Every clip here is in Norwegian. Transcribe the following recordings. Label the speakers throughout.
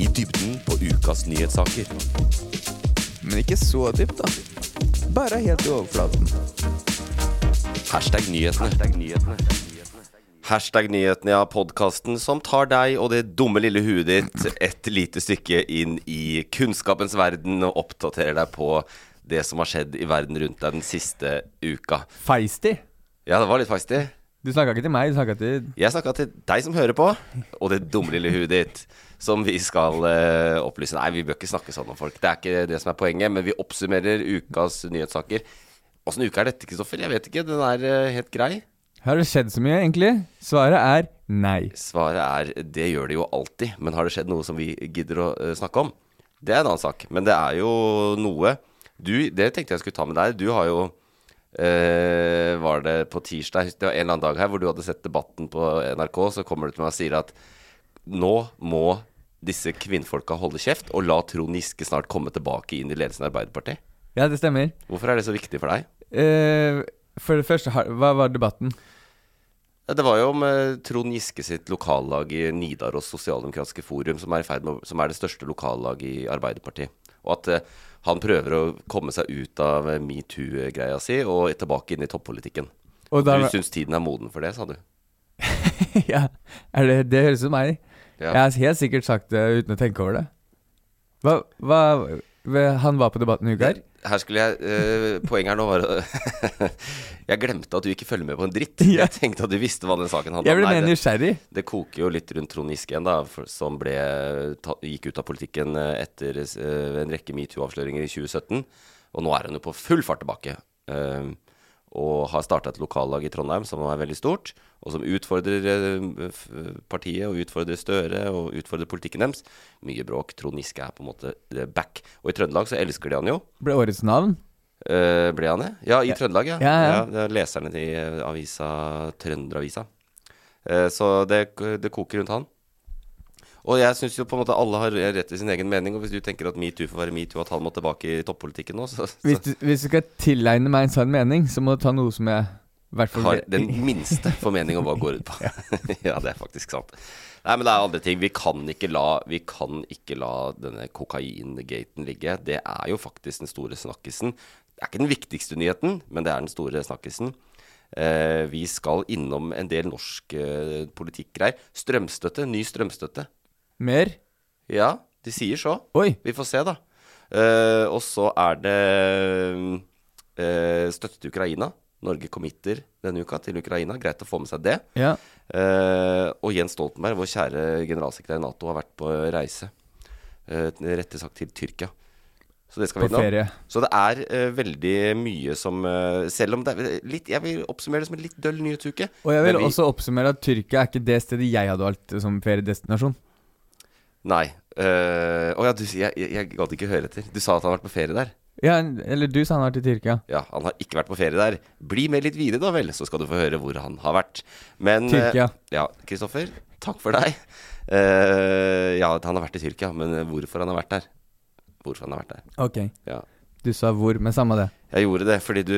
Speaker 1: I dybden på ukas nyhetssaker.
Speaker 2: Men ikke så dypt, da. Bare helt i overflaten.
Speaker 1: Hashtag nyhetene. Hashtag nyhetene. ja, podkasten som tar deg og det dumme lille huet ditt et lite stykke inn i kunnskapens verden og oppdaterer deg på det som har skjedd i verden rundt deg den siste uka.
Speaker 2: Feisty.
Speaker 1: Ja, det var litt feisty.
Speaker 2: Du snakka ikke til meg, du snakka til
Speaker 1: Jeg snakka til deg som hører på, og det dumme lille huet ditt, som vi skal eh, opplyse. Nei, vi bør ikke snakke sånn om folk. Det er ikke det som er poenget, men vi oppsummerer ukas nyhetssaker. Åssen uke er dette, Kristoffer? Jeg vet ikke. Den er eh, helt grei.
Speaker 2: Har det skjedd så mye, egentlig? Svaret er nei.
Speaker 1: Svaret er det gjør det jo alltid, men har det skjedd noe som vi gidder å eh, snakke om? Det er en annen sak, men det er jo noe du, Det tenkte jeg skulle ta med deg. Du har jo eh, Var det på tirsdag, det var en eller annen dag her, hvor du hadde sett debatten på NRK, så kommer du til meg og sier at nå må disse kvinnfolka holde kjeft og la Trond Giske snart komme tilbake inn i ledelsen i Arbeiderpartiet.
Speaker 2: Ja, det stemmer.
Speaker 1: Hvorfor er det så viktig for deg?
Speaker 2: Eh, for det første, har- hva var debatten?
Speaker 1: Ja, Det var jo om eh, Trond Giske sitt lokallag i Nidaros Sosialdemokratiske Forum, som er, i ferd med, å- som er det største lokallaget i Arbeiderpartiet. Og at eh, han prøver å komme seg ut av eh, metoo-greia si og tilbake inn i toppolitikken.
Speaker 2: Og da,
Speaker 1: Du syns tiden er moden for det, sa du.
Speaker 2: ja, er det, det høres ut som meg.
Speaker 1: Ja.
Speaker 2: Jeg har helt sikkert sagt det uten å tenke over det. Hva, hva hva- Han var på debatten i uka her?
Speaker 1: Her skulle jeg eh, Poenget her nå var å- Jeg glemte at du ikke følger med på en dritt.
Speaker 2: Ja.
Speaker 1: Jeg tenkte at du visste hva den saken handla
Speaker 2: Jeg ble
Speaker 1: Nei,
Speaker 2: mer
Speaker 1: det-
Speaker 2: nysgjerrig.
Speaker 1: Det koker jo litt rundt Trond Giske igjen, da, for, som ble, ta, gikk ut av politikken eh, etter eh, en rekke metoo-avsløringer i 2017. Og nå er han jo på full fart tilbake. eh, og har starta et lokallag i Trondheim som er veldig stort, og som utfordrer eh, f- partiet og utfordrer Støre og utfordrer politikken deres. Mye bråk. Trond Giske er på en måte eh, back. Og i Trøndelag så elsker de han jo.
Speaker 2: Ble årets navn.
Speaker 1: Eh, ble han det? Ja, i Trøndelag, ja.
Speaker 2: Ja, ja.
Speaker 1: det er leserne i eh, avisa Trønderavisa. Eh, så det, det koker rundt han. Og jeg syns jo på en måte alle har rett i sin egen mening, og hvis du tenker at metoo får være metoo, at han må tilbake i toppolitikken nå, så, så
Speaker 2: Hvis du, hvis du skal tilegne meg en sånn mening, så må du ta noe som jeg i hvert fall
Speaker 1: har den minste formening om hva det går ut på. ja, det er faktisk sant. Nei, men det er andre ting. Vi kan ikke la, vi kan ikke la denne kokaingaten ligge. Det er jo faktisk den store snakkisen. Det er ikke den viktigste nyheten, men det er den store snakkisen. Eh, vi skal innom en del norsk eh, politikkgreier. Strømstøtte. Ny strømstøtte.
Speaker 2: Mer?
Speaker 1: Ja, de sier så.
Speaker 2: Oi.
Speaker 1: Vi får se, da. Eh, og så er det mm, eh, støtte til Ukraina. Norge committer denne uka til Ukraina. Greit å få med seg det.
Speaker 2: Ja.
Speaker 1: Eh, og Jens Stoltenberg, vår kjære generalsekretær i Nato, har vært på reise. Uh, rettere sagt til Tyrkia. Så det skal
Speaker 2: På
Speaker 1: vi innom.
Speaker 2: ferie.
Speaker 1: Så det er eh, veldig mye som eh, Selv om det er litt Jeg vil oppsummere det som en litt døll nyhetsuke.
Speaker 2: Og jeg vil
Speaker 1: men vi-
Speaker 2: også oppsummere at Tyrkia er ikke det stedet jeg hadde valgt som feriedestinasjon.
Speaker 1: Nei. eh, Å ja, du, jeg, jeg, jeg gadd ikke høre etter. Du sa at han har vært på ferie der.
Speaker 2: Ja, eller du sa han var til Tyrkia.
Speaker 1: Ja, han har ikke vært på ferie der. Bli med litt videre, da vel, så skal du få høre hvor han har vært. Men eh,
Speaker 2: Tyrkia.
Speaker 1: Ja, Kristoffer, takk for deg. Eh, ja, han har vært i Tyrkia, men hvorfor han har vært der? Hvorfor han har vært der?
Speaker 2: Ok.
Speaker 1: Ja.
Speaker 2: Du sa hvor, men samme det.
Speaker 1: Jeg gjorde det fordi du,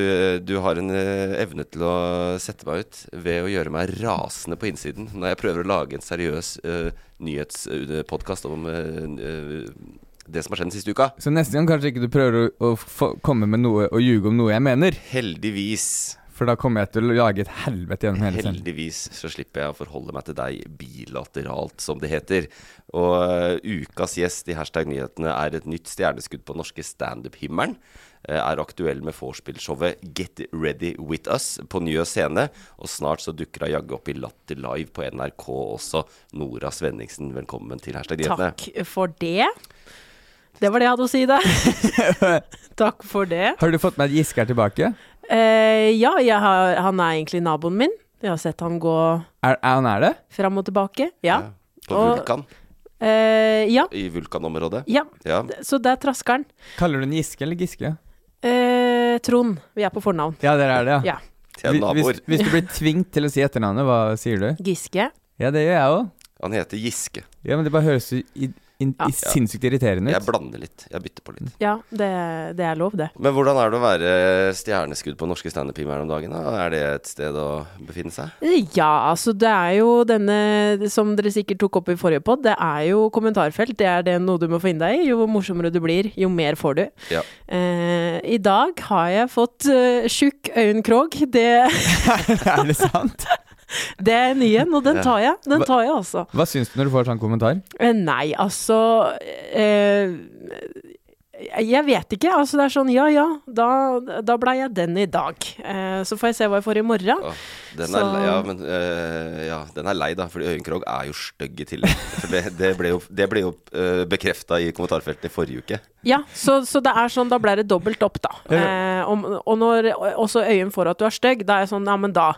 Speaker 1: du har en eh, evne til å sette meg ut ved å gjøre meg rasende på innsiden når jeg prøver å lage en seriøs eh, nyhetspodkast om eh, eh, det som har skjedd den siste uka.
Speaker 2: Så neste gang kanskje ikke du prøver å, å få, komme med noe og ljuge om noe jeg mener.
Speaker 1: Heldigvis.
Speaker 2: For da kommer jeg til å lage et helvete gjennom hele sendingen.
Speaker 1: Heldigvis så slipper jeg å forholde meg til deg bilateralt, som det heter. Og eh, ukas gjest i hashtag nyhetene er et nytt stjerneskudd på norske standup-himmelen. Eh, er aktuell med vorspiel-showet Get Ready With Us på Njø scene. Og snart så dukker hun jaggu opp i Latter Live på NRK også. Nora Svenningsen, velkommen til hashtag nyhetene.
Speaker 3: Takk for det. Det var det jeg hadde å si der. Takk for det.
Speaker 2: Har du fått med at Giske er tilbake?
Speaker 3: Eh, ja, jeg har, han er egentlig naboen min. Jeg har sett han gå
Speaker 2: Er, er han er det?
Speaker 3: fram og tilbake. Ja.
Speaker 1: På
Speaker 3: Og-
Speaker 1: Vulkan,
Speaker 3: Eh, ja.
Speaker 1: i vulkanområdet.
Speaker 3: ja.
Speaker 1: Ja.
Speaker 3: Så der trasker han.
Speaker 2: Kaller du den Giske eller Giske?
Speaker 3: Eh, Trond. Vi er på fornavn.
Speaker 2: Ja, dere er det, ja.
Speaker 3: Ja.
Speaker 1: Tjene
Speaker 2: Hvi- Hvis,
Speaker 1: naboer.
Speaker 2: hvis du blir tvunget til å si etternavnet, hva sier du?
Speaker 3: Giske.
Speaker 2: Ja, det gjør jeg òg.
Speaker 1: Han heter Giske.
Speaker 2: Ja, men det bare høres jo i, in,
Speaker 3: Ja.
Speaker 2: i sinnssykt irriterende
Speaker 1: Jeg
Speaker 2: ut.
Speaker 1: blander litt. Jeg bytter på litt.
Speaker 3: Ja, det, det er lov, det.
Speaker 1: Men hvordan er det å være stjerneskudd på norske standup-himmelen om dagen? da? Er det et sted å befinne seg?
Speaker 3: Ja, altså det er jo denne som dere sikkert tok opp i forrige pod, det er jo kommentarfelt. Det er det noe du må få inn deg i. Jo morsommere du blir, jo mer får du.
Speaker 1: Ja.
Speaker 3: Eh, I dag har jeg fått eh, tjukk Øyunn Krogh. Det,
Speaker 2: er det sant?
Speaker 3: det er ny en, og den tar jeg. Den tar jeg, altså.
Speaker 2: Hva syns du når du får sånn kommentar?
Speaker 3: Eh, Nei, altså eh, Jeg vet ikke. Altså, det er sånn ja ja, da, da blei jeg den i dag. Eh, så får jeg se hva jeg får i morgen.
Speaker 1: Åh, den, er,
Speaker 3: Så-
Speaker 1: le- ja, men, eh, ja, den er lei, da, fordi Øyunn Krogh er jo stygg i tillegg. For Det, det ble jo, det ble jo bekrefta i kommentarfeltet i forrige uke.
Speaker 3: Ja, så, så det er sånn, da blei det dobbelt opp, da. Eh, og, og når også Øyunn får at du er stygg, da er jeg sånn ja, men da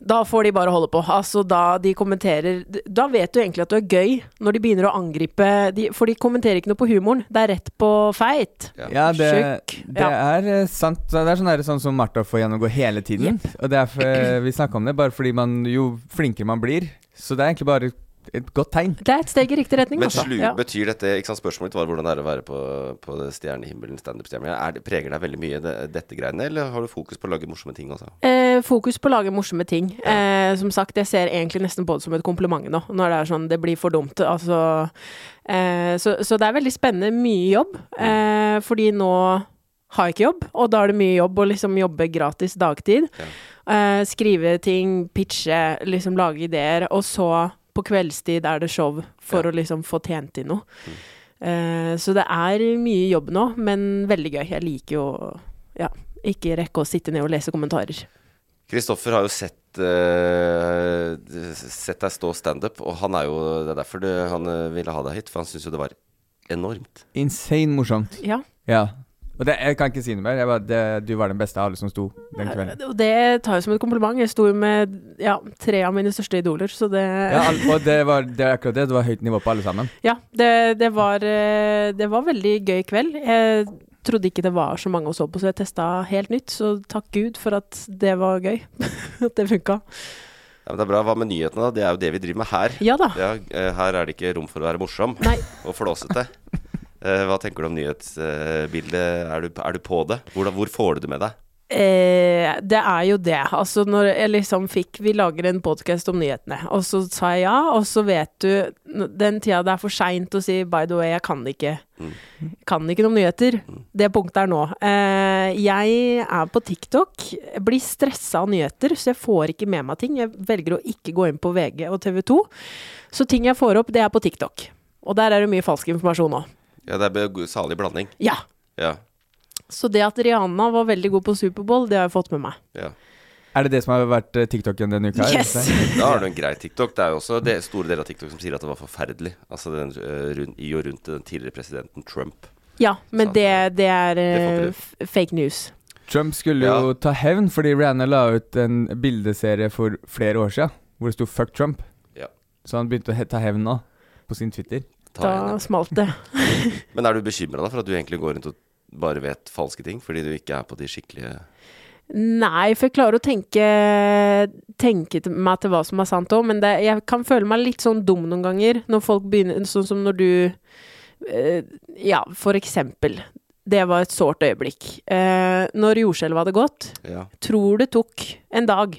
Speaker 3: da får de bare holde på. Altså da de kommenterer Da vet du egentlig at du er gøy, når de begynner å angripe de, For de kommenterer ikke noe på humoren. Det er rett på feit.
Speaker 1: Ja.
Speaker 2: Ja, det,
Speaker 3: Tjukk.
Speaker 2: det er eh, sant. Det er sånn, der, sånn som Martha får gjennomgå hele tiden. Og det er for, vi snakka om det, bare fordi man Jo flinkere man blir. Så det er egentlig bare et godt tegn.
Speaker 3: Det er et steg i riktig retning.
Speaker 1: Men
Speaker 3: altså.
Speaker 1: slu,
Speaker 3: Ja.
Speaker 1: betyr dette ikke sant, Spørsmålet var hvordan det er å være på, på det stjernehimmelen, standup-stjernen. Er det- Preger deg veldig mye det, dette greiene, eller har du fokus på å lage morsomme ting også?
Speaker 3: Eh, fokus på å lage morsomme ting. Eh, som sagt, jeg ser egentlig nesten på det som et kompliment nå, når det er sånn det blir for dumt. Altså, eh, så, så det er veldig spennende. Mye jobb. Eh, fordi nå har jeg ikke jobb, og da er det mye jobb å liksom jobbe gratis dagtid. Eh, skrive ting, pitche, liksom lage ideer. Og så på kveldstid er det show for å liksom få tjent inn noe. Eh, så det er mye jobb nå, men veldig gøy. Jeg liker jo ja, ikke rekke å sitte ned og lese kommentarer.
Speaker 1: Kristoffer har jo sett, eh, sett deg stå standup, og han er jo, det er derfor det, han eh, ville ha deg hit. For han syns jo det var enormt.
Speaker 2: Insane morsomt.
Speaker 3: Ja.
Speaker 2: Ja. Og det, jeg kan ikke si noe mer. Jeg bare, det, du var den beste av alle som sto den kvelden.
Speaker 3: Og det tar jeg som et kompliment. Jeg sto jo med ja, tre av mine største idoler, så det
Speaker 2: Ja,
Speaker 3: Ja,
Speaker 2: al- og det var, det er akkurat det. Det var høyt nivå på alle sammen.
Speaker 3: det, det, var, eh, det var veldig gøy kveld. Jeg trodde ikke det var så mange å så på, så jeg testa helt nytt. Så takk Gud for at det var gøy. at det funka.
Speaker 1: Ja, men det er bra. Hva med nyhetene, da? Det er jo det vi driver med her.
Speaker 3: Ja da.
Speaker 1: Ja, eh, her er det ikke rom for å være morsom
Speaker 3: Nei.
Speaker 1: og flåsete. Eh, Hva tenker du om nyhetsbildet? Er du, er du på det? Hvor, hvor får du det med deg?
Speaker 3: Eh, det er jo det. Altså, når jeg liksom fikk Vi lager en podkast om nyhetene, og så sa jeg ja, og så vet du n- Den tida det er for seint å si 'by the way, jeg kan ikke'. Kan ikke noen nyheter. Det punktet er nå. Eh, jeg er på TikTok, jeg blir stressa av nyheter, så jeg får ikke med meg ting. Jeg velger å ikke gå inn på VG og TV 2. Så ting jeg får opp, det er på TikTok. Og der er det mye falsk informasjon nå.
Speaker 1: Ja, det er be- god- salig blanding.
Speaker 3: Ja.
Speaker 1: Ja.
Speaker 3: Så det at Rihanna var veldig god på Superbowl, det har jeg fått med meg.
Speaker 1: ja.
Speaker 2: Er det det som har vært eh, TikToken denne uka?
Speaker 3: Yes!
Speaker 1: Da har du en grei TikTok. Det er jo også det store deler av TikTok som sier at det var forferdelig. Altså den, eh, rundt, i og rundt den tidligere presidenten Trump.
Speaker 3: Ja, men
Speaker 1: Sant.
Speaker 3: det, det er
Speaker 1: får
Speaker 3: eh,
Speaker 1: ikke
Speaker 3: f- fake news.
Speaker 2: Trump skulle jo ta hevn fordi Rihanna la ut en bildeserie for flere år siden hvor det sto 'fuck Trump'.
Speaker 1: Ja.
Speaker 2: Så han begynte å he- ta hevn nå, på sin Twitter.
Speaker 1: Ta igjen, ja.
Speaker 3: Da smalt det.
Speaker 1: Men er du bekymra da for at du egentlig går rundt og bare vet falske ting fordi du ikke er på de skikkelige
Speaker 3: Nei, for jeg klarer å tenke, tenke til meg til hva som er sant òg, men det, jeg kan føle meg litt sånn dum noen ganger når folk begynner Sånn som når du eh, Ja, for eksempel. Det var et sårt øyeblikk. Eh, når jordskjelvet hadde gått,
Speaker 1: Ja.
Speaker 3: tror det tok en dag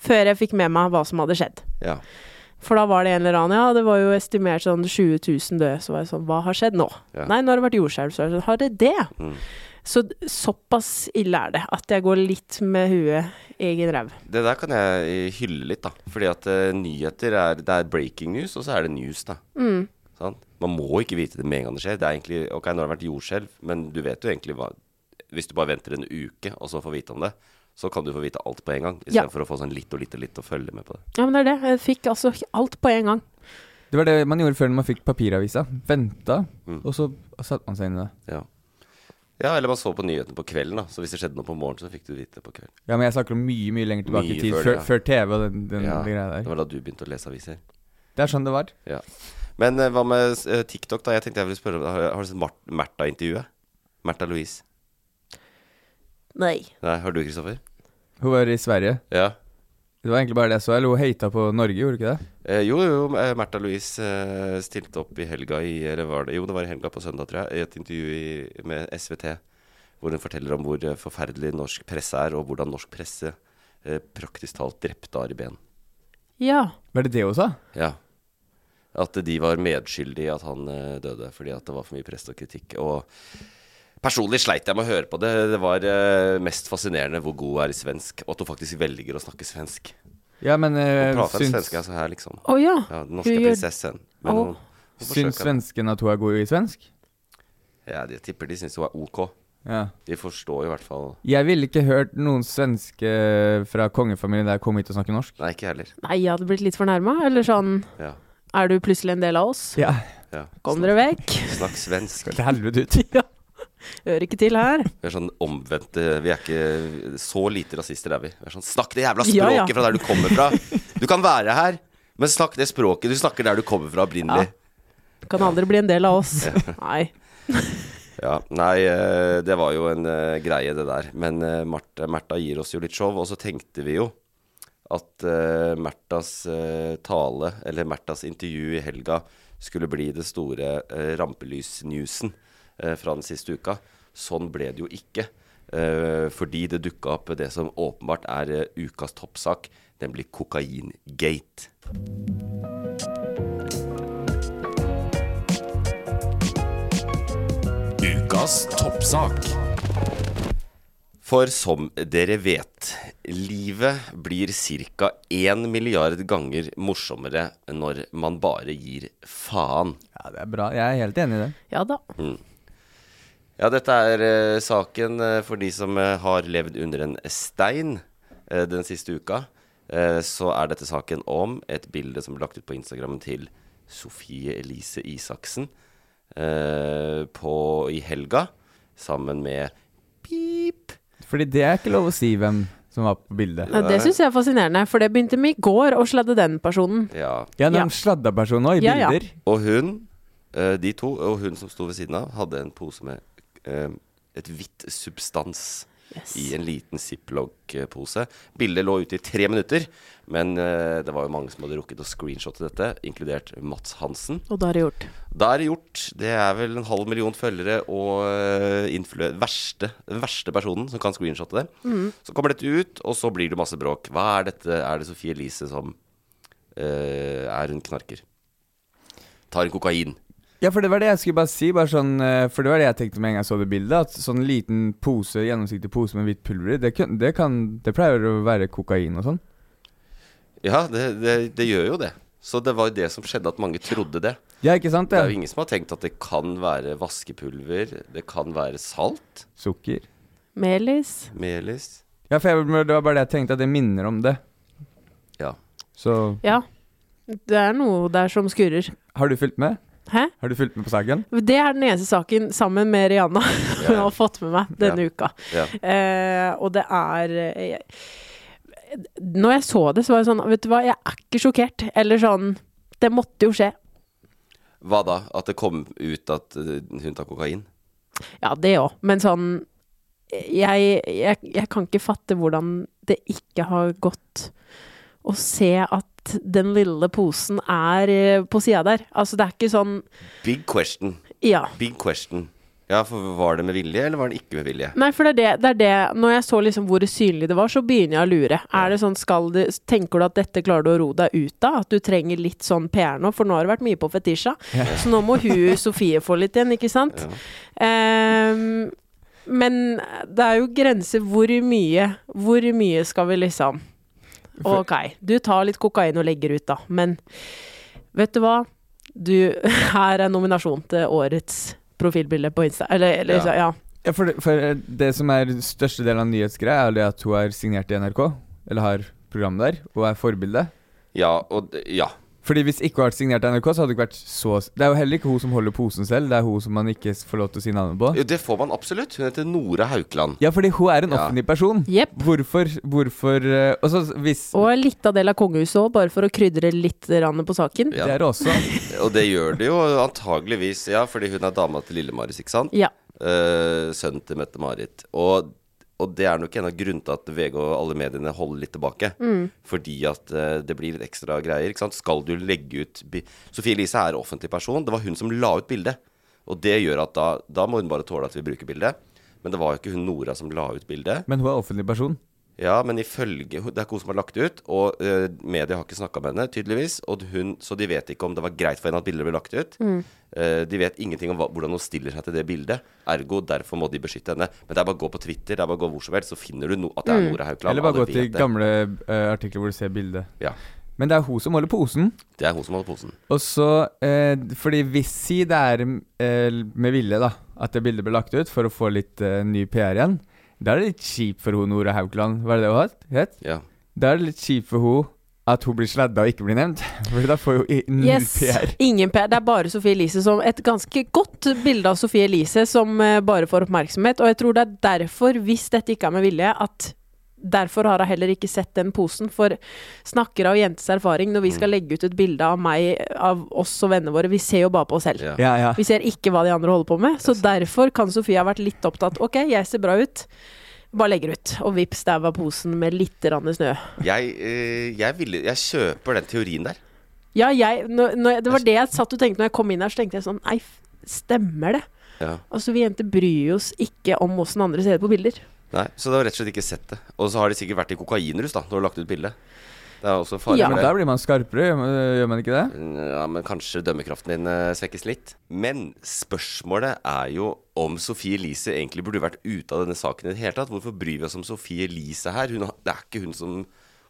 Speaker 3: før jeg fikk med meg hva som hadde skjedd.
Speaker 1: ja.
Speaker 3: For da var det en eller annen, ja, det var jo estimert sånn 20 000 døde, så var jeg sånn, hva har skjedd nå?
Speaker 1: Ja. Mm.
Speaker 3: Nei, nå har det vært jordskjelv, så er det sånn, har det det? Så d- såpass ille er det at jeg går litt med huet i egen ræv.
Speaker 1: Det der kan jeg hylle litt, da. Fordi at eh, nyheter er Det er breaking news, og så er det news, da. Sant? Man må ikke vite det med en gang det skjer. Det er egentlig Ok, nå har det vært jordskjelv, men du vet jo egentlig hva Hvis du bare venter en uke, og så får vite om det, så kan du få vite alt på en gang.
Speaker 3: Ja.
Speaker 1: Istedenfor for å få sånn litt og litt og litt og følge med på det.
Speaker 3: Ja, men det er det. Jeg fikk altså alt på en gang.
Speaker 2: Det var det man gjorde før når man fikk papiravisa. Venta,
Speaker 1: Mm.
Speaker 2: og så satte man seg inn i det.
Speaker 1: Ja. ja, eller man så på nyhetene på kvelden, da. Så hvis det skjedde noe på morgenen, så fikk du vite det på kvelden.
Speaker 2: Ja, men jeg snakker om mye mye lenger tilbake
Speaker 1: Mye
Speaker 2: i tid,
Speaker 1: før
Speaker 2: før,
Speaker 1: det, ja.
Speaker 2: før TV og den, den
Speaker 1: Ja,
Speaker 2: greia
Speaker 1: det
Speaker 2: der.
Speaker 1: var da du begynte å lese aviser.
Speaker 2: Det er sånn det var.
Speaker 1: Ja. Men eh, hva med eh, TikTok, da? Jeg tenkte jeg ville spørre om Har, har du sett Mar- Märtha-intervjuet? Märtha Louise?
Speaker 3: Nei.
Speaker 1: Nei, har du, Kristoffer?
Speaker 2: Hun var i Sverige.
Speaker 1: Ja.
Speaker 2: Det var egentlig bare det jeg så. Eller hun hata på Norge, gjorde hun ikke det?
Speaker 1: Eh, jo, jo, eh, Märtha Louise eh, stilte opp i helga i Eller var det Jo, det var i helga på søndag, tror jeg, i et intervju i, med SVT. Hvor hun forteller om hvor eh, forferdelig norsk presse er, og hvordan norsk presse eh, praktisk talt drepte Ari Behn.
Speaker 3: Ja.
Speaker 2: Var det det hun sa?
Speaker 1: Ja. At de var medskyldige i at han eh, døde, fordi at det var for mye press og kritikk. Og personlig sleit jeg med å høre på det. Det var eh, mest fascinerende hvor god hun er i svensk, og at hun faktisk velger å snakke svensk.
Speaker 2: Ja, men
Speaker 1: Hun
Speaker 2: uh,
Speaker 1: prater
Speaker 2: syns,
Speaker 1: svensk, altså her, liksom.
Speaker 3: Å ja.
Speaker 1: Ja, den
Speaker 3: Hun
Speaker 1: norske
Speaker 3: gjør-
Speaker 1: prinsessen. Men
Speaker 3: Å.
Speaker 1: hun, hun
Speaker 2: syns
Speaker 1: forsøker det.
Speaker 2: svenskene at hun er god i svensk?
Speaker 1: Ja, de tipper de syns hun er ok.
Speaker 2: Ja.
Speaker 1: De forstår i hvert fall
Speaker 2: Jeg ville ikke hørt noen svenske fra kongefamilien der komme hit og snakke norsk.
Speaker 1: Nei, ikke jeg heller.
Speaker 3: Nei, jeg hadde blitt litt fornærma. Eller sånn
Speaker 1: Ja.
Speaker 3: Er du plutselig en del av oss?
Speaker 2: Ja,
Speaker 1: ja.
Speaker 3: Kom dere vekk.
Speaker 1: Snakk svensk.
Speaker 2: til helvete ut.
Speaker 3: ja. Hører ikke til her.
Speaker 1: Vi er sånn omvendte Vi er ikke så lite rasister, er vi. vi er sånn, snakk det jævla
Speaker 3: Ja,
Speaker 1: språket
Speaker 3: ja.
Speaker 1: fra der du kommer fra! Du kan være her, men snakk det språket du snakker der du kommer fra opprinnelig.
Speaker 3: Kan aldri bli en del av oss. Nei.
Speaker 1: Ja. Nei, eh, det var jo en eh, greie, det der. Men eh, Marte- Märtha gir oss jo litt show, og så tenkte vi jo at uh, Märthas eh, tale, eller Märthas intervju i helga, skulle bli det store uh, rampelysnewsen eh, fra den siste uka. Sånn ble det jo ikke. eh, fordi det dukka opp det som åpenbart er eh, ukas toppsak, nemlig kokaingate.
Speaker 4: Ukas toppsak.
Speaker 1: For som dere vet, livet blir ca. 1 milliard ganger morsommere når man bare gir faen.
Speaker 2: Ja, det er bra. Jeg er helt enig i det.
Speaker 3: Ja da.
Speaker 1: Ja, dette er eh, saken eh, for de som eh, har levd under en stein eh, den siste uka. Eh, så er dette saken om et bilde som ble lagt ut på Instagrammen til Sofie Elise Isaksen eh, på, i helga, sammen med Pip.
Speaker 2: Fordi det er ikke lov å si hvem som var på bildet.
Speaker 3: Ja, det syns jeg er fascinerende, for det begynte med i går å sladde den personen.
Speaker 1: Ja,
Speaker 2: Ja,
Speaker 3: Ja.
Speaker 2: noen sladda personer i
Speaker 3: Ja, ja.
Speaker 2: bilder.
Speaker 1: Og hun, eh, de to, og hun som sto ved siden av, hadde en pose med eh, et hvitt substans i en liten ziplock-pose. Bildet lå ute i tre minutter, men eh, det var jo mange som hadde rukket å screenshotte dette, inkludert Mats Hansen.
Speaker 3: Og da er det gjort.
Speaker 1: Da er det gjort. Det er vel en halv million følgere og eh, influ- verste, den verste personen som kan screenshotte det. Så kommer dette ut, og så blir det masse bråk. Hva er dette? Er det Sofie Elise som eh, er hun knarker? Tar en kokain.
Speaker 2: Ja, for det var det jeg skulle bare si. Bare sånn, eh, for det var det jeg tenkte med en gang jeg så det bildet. At sånn liten pose, gjennomsiktig pose med hvitt pulver i, det, kun- det, kan- det pleier å være kokain og sånn.
Speaker 1: Ja, det, det, det gjør jo det. Så det var jo det som skjedde, at mange trodde det.
Speaker 2: Ja, ikke sant?
Speaker 1: Det er jo
Speaker 2: Det?
Speaker 1: ingen som har tenkt at det kan være vaskepulver, det kan være salt,
Speaker 2: Sukker.
Speaker 3: Melis.
Speaker 1: melis
Speaker 2: Ja, for jeg, det var bare det jeg tenkte, at det minner om det.
Speaker 1: Ja.
Speaker 2: Så
Speaker 3: Ja. Det er noe der som skurrer.
Speaker 2: har du fulgt med?
Speaker 3: Hæ?
Speaker 2: Har du fulgt med på saken?
Speaker 3: Det er den eneste saken sammen med Rihanna jeg har fått med meg denne uka.
Speaker 1: ja.
Speaker 3: Eh, og det er eh, jeg- Når jeg så det, så var jeg sånn Vet du hva, jeg er ikke sjokkert. Eller sånn Det måtte jo skje.
Speaker 1: Hva da? At det kom ut at eh, hun tar kokain?
Speaker 3: Ja, det òg. Men sånn jeg, jeg, jeg kan ikke fatte hvordan det ikke har gått å se at den lille posen er eh, på sida der. Altså, det er ikke sånn
Speaker 1: Big question.
Speaker 3: Ja.
Speaker 1: Big question. Ja, for var det med vilje, eller var det ikke med vilje?
Speaker 3: Nei, for det er det, det er det Når jeg så liksom hvor synlig det var, så begynner jeg å lure. Er det sånn, skal du, Tenker du at dette klarer du å ro deg ut av? At du trenger litt sånn PR nå? For nå har det vært mye på Fetisha, så nå må hun Sofie få litt igjen, ikke sant? Ehm, Men det er jo grenser hvor mye. Hvor mye skal vi liksom Ok, du tar litt kokain og legger ut, da. Men vet du hva? Du, her er nominasjon til årets profilbilde på Insta. Eller, eller
Speaker 1: Ja.
Speaker 3: ja.
Speaker 2: Ja, for, det- for eh, det som er største delen av nyhetsgreia, er jo det at hun er signert i NRK, eller har programmet der, og er forbilde.
Speaker 1: Ja, og d- ja.
Speaker 2: Fordi hvis ikke hun hadde vært signert i NRK, så hadde det ikke vært så Det er jo heller ikke hun som holder posen selv, det er hun som man ikke får lov til å si navnet på.
Speaker 1: Jo, det får man absolutt. Hun heter Nora Haukeland.
Speaker 2: Ja, fordi hun er en
Speaker 1: Ja.
Speaker 2: offentlig person.
Speaker 3: Jepp.
Speaker 2: Hvorfor Hvorfor eh, Og så hvis
Speaker 3: Og litt av del av kongehuset òg, bare for å krydre litt rann på saken.
Speaker 1: Ja.
Speaker 2: Det er også
Speaker 1: Og det gjør det jo antageligvis, ja, fordi hun er dama til Lille-Marius, ikke sant?
Speaker 3: Ja.
Speaker 1: Eh, sønnen til Mette-Marit. Og, og det er nok en av grunnene til at VG og alle mediene holder litt tilbake. Fordi at eh, det blir litt ekstra greier. Ikke sant? Skal du legge ut bi Sofie Elise er offentlig person. Det var hun som la ut bildet. Og det gjør at da, da må hun bare tåle at vi bruker bildet. Men det var jo ikke hun Nora som la ut bildet.
Speaker 2: Men hun er en offentlig person.
Speaker 1: Ja, men ifølge Det er ikke hun som har lagt det ut, og eh, media har ikke snakka med henne, tydeligvis. Og hun, så de vet ikke om det var greit for henne at bildet ble lagt ut.
Speaker 2: Mm.
Speaker 1: Eh, de vet ingenting om hva, hvordan hun stiller seg til det bildet. Ergo derfor må de beskytte henne. Men det er bare å gå på Twitter, det er bare å gå hvor som helst, så finner du no at det
Speaker 2: Mm.
Speaker 1: er Nora Haukeland.
Speaker 2: Eller bare
Speaker 1: alle
Speaker 2: gå til
Speaker 1: vet det.
Speaker 2: gamle eh, artikler hvor du ser bildet.
Speaker 1: Ja.
Speaker 2: Men det er hun som holder posen.
Speaker 1: Det er hun som holder posen.
Speaker 2: Og så eh, Fordi hvis si det er eh, med vilje, da, at det bildet ble lagt ut for å få litt eh, ny PR igjen, da er det litt kjipt for hun Nora Haukeland. Var det det hun het? het?
Speaker 1: Ja.
Speaker 2: Da er det litt kjipt for hun at hun blir sladda og ikke blir nevnt. For da får hun i- null
Speaker 3: Yes.
Speaker 2: PR.
Speaker 3: Ingen PR. Det er bare Sophie Elise som Et ganske godt bilde av Sophie Elise som eh, bare får oppmerksomhet. Og jeg tror det er derfor, hvis dette ikke er med vilje, at derfor har hun heller ikke sett den posen. For snakker av jentes erfaring når vi skal legge ut et bilde av meg, av oss og vennene våre, vi ser jo bare på oss selv.
Speaker 1: Ja.
Speaker 2: Ja, ja.
Speaker 3: Vi ser ikke hva de andre holder på med. Så derfor kan Sofie ha vært litt opptatt. Ok, jeg ser bra ut. Bare legger ut. Og vips, der var posen med litt grann snø.
Speaker 1: Jeg, eh, jeg, ville, jeg kjøper den teorien der.
Speaker 3: Ja, jeg, nå- nå- det var det jeg satt og tenkte når jeg kom inn her, så tenkte jeg sånn Nei, f- stemmer det?
Speaker 1: Ja.
Speaker 3: Altså, vi jenter bryr oss ikke om åssen andre ser det på bilder.
Speaker 1: Nei, så de har rett og slett ikke sett det. Og så har de sikkert vært i kokainrus da, når de har lagt ut bildet. Det er også farlig.
Speaker 3: Ja.
Speaker 2: Men da blir man skarpere, gjør man- gjør man ikke det?
Speaker 1: Ja, men kanskje dømmekraften din eh, svekkes litt. Men spørsmålet er jo om Sophie Elise egentlig burde vært ute av denne saken i det hele tatt. Hvorfor bryr vi oss om Sophie Elise her? Hun, har- det er ikke hun som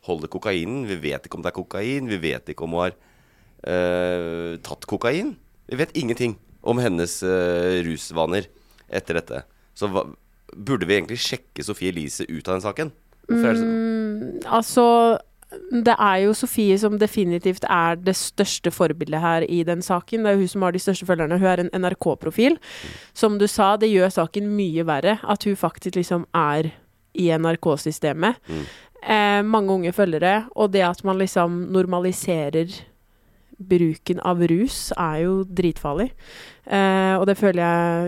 Speaker 1: holder kokainen. Vi vet ikke om det er kokain. Vi vet ikke om hun har eh, tatt kokain. Vi vet ingenting om hennes eh, rusvaner etter dette. Så hva, burde vi egentlig sjekke Sophie Elise ut av den saken? Hvorfor er det så-
Speaker 3: Altså, det er jo Sofie som definitivt er det største forbildet her i den saken. Det er jo hun som har de største følgerne. Hun er en NRK-profil. Som du sa, det gjør saken mye verre at hun faktisk liksom er i NRK-systemet. Eh, mange unge følgere, og det at man liksom normaliserer bruken av rus, er jo dritfarlig. Eh, og det føler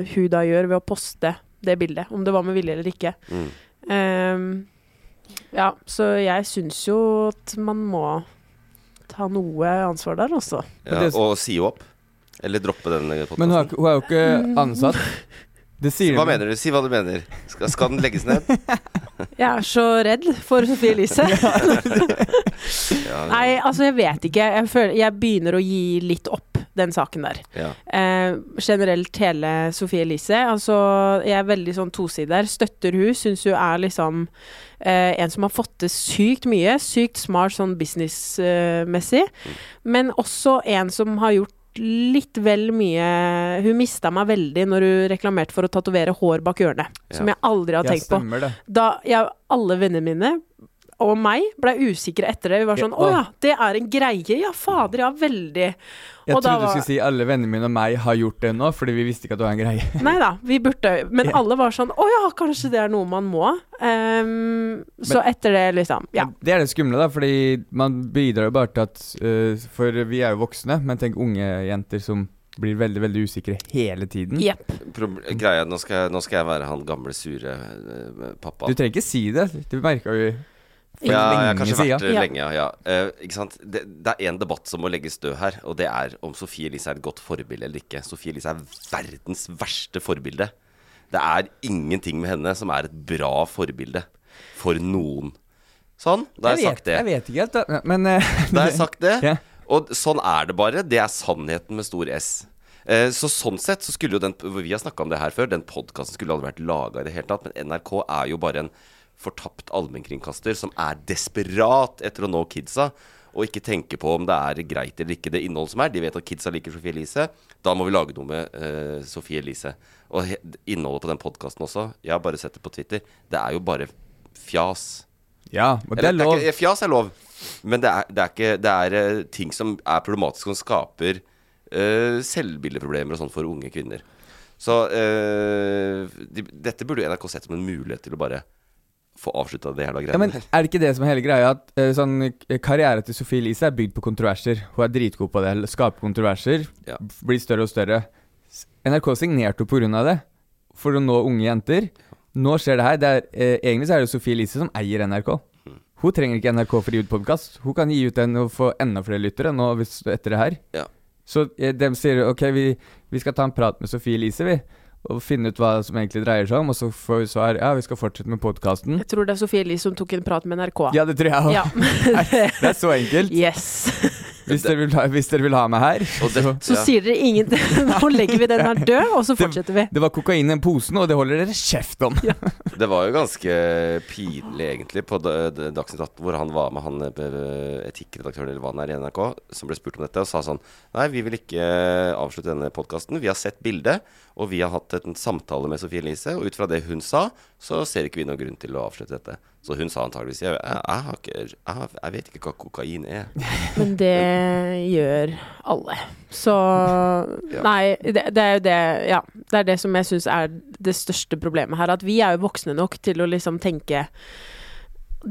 Speaker 3: jeg hun da gjør ved å poste det bildet, om det var med vilje eller ikke. Eh, ja, så jeg syns jo at man må ta noe ansvar der også.
Speaker 1: ja, og si henne opp? Eller droppe den eh, podkasten?
Speaker 2: Men hun er, ikke- hun er jo ikke ansatt. Det sier
Speaker 1: Hva mener du? Si hva du mener. Skal, skal den legges ned?
Speaker 3: Jeg er så redd for Sophie Elise.
Speaker 1: Ja,
Speaker 3: Nei, altså jeg vet ikke. Jeg, føler, jeg begynner å gi litt opp den saken der.
Speaker 1: ja.
Speaker 3: Eh, generelt hele Sophie Elise. Altså, jeg er veldig sånn tosider. Støtter hun, syns hun er liksom eh, en som har fått til sykt mye. Sykt smart sånn businessmessig. men også en som har gjort litt vel mye Hun mista meg veldig når hun reklamerte for å tatovere hår bak hjørnet. Som jeg aldri har
Speaker 2: Ja,
Speaker 3: tenkt på.
Speaker 2: stemmer det.
Speaker 3: Da jeg, alle vennene mine og meg ble usikre etter det. Vi var sånn Å
Speaker 2: Ja,
Speaker 3: ja, det er en greie. Ja, fader, ja, veldig.
Speaker 2: Jeg
Speaker 3: Og da
Speaker 2: trodde du
Speaker 3: var-
Speaker 2: skulle si alle vennene mine og meg har gjort det nå, fordi vi visste ikke at det var en greie.
Speaker 3: Nei da, vi burde Men alle var sånn Å ja, kanskje det er noe man må. Ehm, så etter det, liksom. Ja.
Speaker 2: Men Det er det skumle, da, fordi man bidrar jo bare til at eh, For vi er jo voksne, men tenk unge jenter som blir veldig veldig usikre hele tiden.
Speaker 3: Jepp.
Speaker 1: Proble- Greia, nå skal, jeg, nå skal jeg være han gamle, sure eh, pappaen.
Speaker 2: Du trenger ikke si det. Det merka vi for
Speaker 1: ja, jeg har
Speaker 2: lenge
Speaker 1: kanskje
Speaker 2: siden.
Speaker 1: vært det
Speaker 3: Ja.
Speaker 1: lenge, ja. Eh, ikke sant? Det, det er én debatt som må legges død her, og det er om Sophie Elise er et godt forbilde eller ikke. Sophie Elise er verdens verste forbilde. Det er ingenting med henne som er et bra forbilde for noen. Sånn, da har jeg,
Speaker 2: vet,
Speaker 1: sagt det.
Speaker 2: Jeg vet ikke helt, da. Men eh,
Speaker 1: Da har jeg sagt det.
Speaker 2: Ja.
Speaker 1: Og sånn er det bare. Det er sannheten med stor S. Eh, så sånn sett så skulle jo den hvor Vi har snakka om det her før. Den podkasten skulle aldri vært laga i det hele tatt. Men NRK er jo bare en fortapt allmennkringkaster som er desperat etter å nå kidsa. Og ikke tenke på om det er greit eller ikke, det innholdet som er. De vet at kidsa liker Sophie Elise. Da må vi lage noe med eh, Sophie Elise. Og he innholdet på den podkasten også. Jeg har bare sett det på Twitter. Det er jo bare fjas.
Speaker 2: Ja, og det er
Speaker 1: Eller,
Speaker 2: lov.
Speaker 1: ikke, fjas er lov, men det er, det er, ikke, det er eh, ting som er problematiske, som skaper eh, selvbildeproblemer og sånn for unge kvinner. Så eh, de, dette burde jo NRK sett som en mulighet til å bare få avslutta det hele
Speaker 2: Ja, men
Speaker 1: greiene.
Speaker 2: Er det ikke det som er hele greia? At eh, sånn, eh, Karrieren til Sophie Elise er bygd på kontroverser. Hun er dritgod på det. Skaper kontroverser.
Speaker 1: Ja.
Speaker 2: f- Blir større og større. S- NRK signerte henne pga. det, for å nå unge jenter. Nå skjer det her. Det er, eh, egentlig så er det Sophie Elise som eier NRK.
Speaker 1: Mm.
Speaker 2: Hun trenger ikke NRK for å gi ut podkast. Hun kan gi ut den og få enda flere lyttere nå hvis, etter det her.
Speaker 1: Ja.
Speaker 2: Så eh, de sier ok, vi, vi skal ta en prat med Sophie Elise, vi. Og finne ut hva som egentlig dreier seg om. Og så får vi svar. Ja, vi skal fortsette med podkasten.
Speaker 3: Jeg tror det er Sofie Elise som tok en prat med NRK.
Speaker 2: Ja, det tror jeg òg.
Speaker 3: Ja.
Speaker 2: Det er så enkelt.
Speaker 3: Yes.
Speaker 2: Hvis dere vil ha, hvis dere vil ha meg her
Speaker 1: Og det,
Speaker 3: Så
Speaker 1: ja.
Speaker 3: sier dere ingenting. Nå legger vi den her død, og så fortsetter vi.
Speaker 2: Det var kokain i den posen, og det holder dere kjeft om.
Speaker 1: det var jo ganske pinlig, egentlig, på da- da- Dagsnytt 18, hvor han var med han eh, etikkredaktøren eller hva han er i NRK, som ble spurt om dette, og sa sånn Nei, vi vil ikke eh, avslutte denne podkasten. Vi har sett bildet, og vi har hatt en samtale med Sofie Elise, og ut fra det hun sa, så ser ikke vi noen grunn til å avslutte dette. Så hun sa antageligvis Jeg, jeg, jeg, har ikke, jeg, har- jeg vet ikke hva kokain er.
Speaker 3: Men det gjør alle. Så Nei, det, det er jo det Ja. Det er det som jeg syns er det største problemet her. At vi er jo voksne nok til å liksom tenke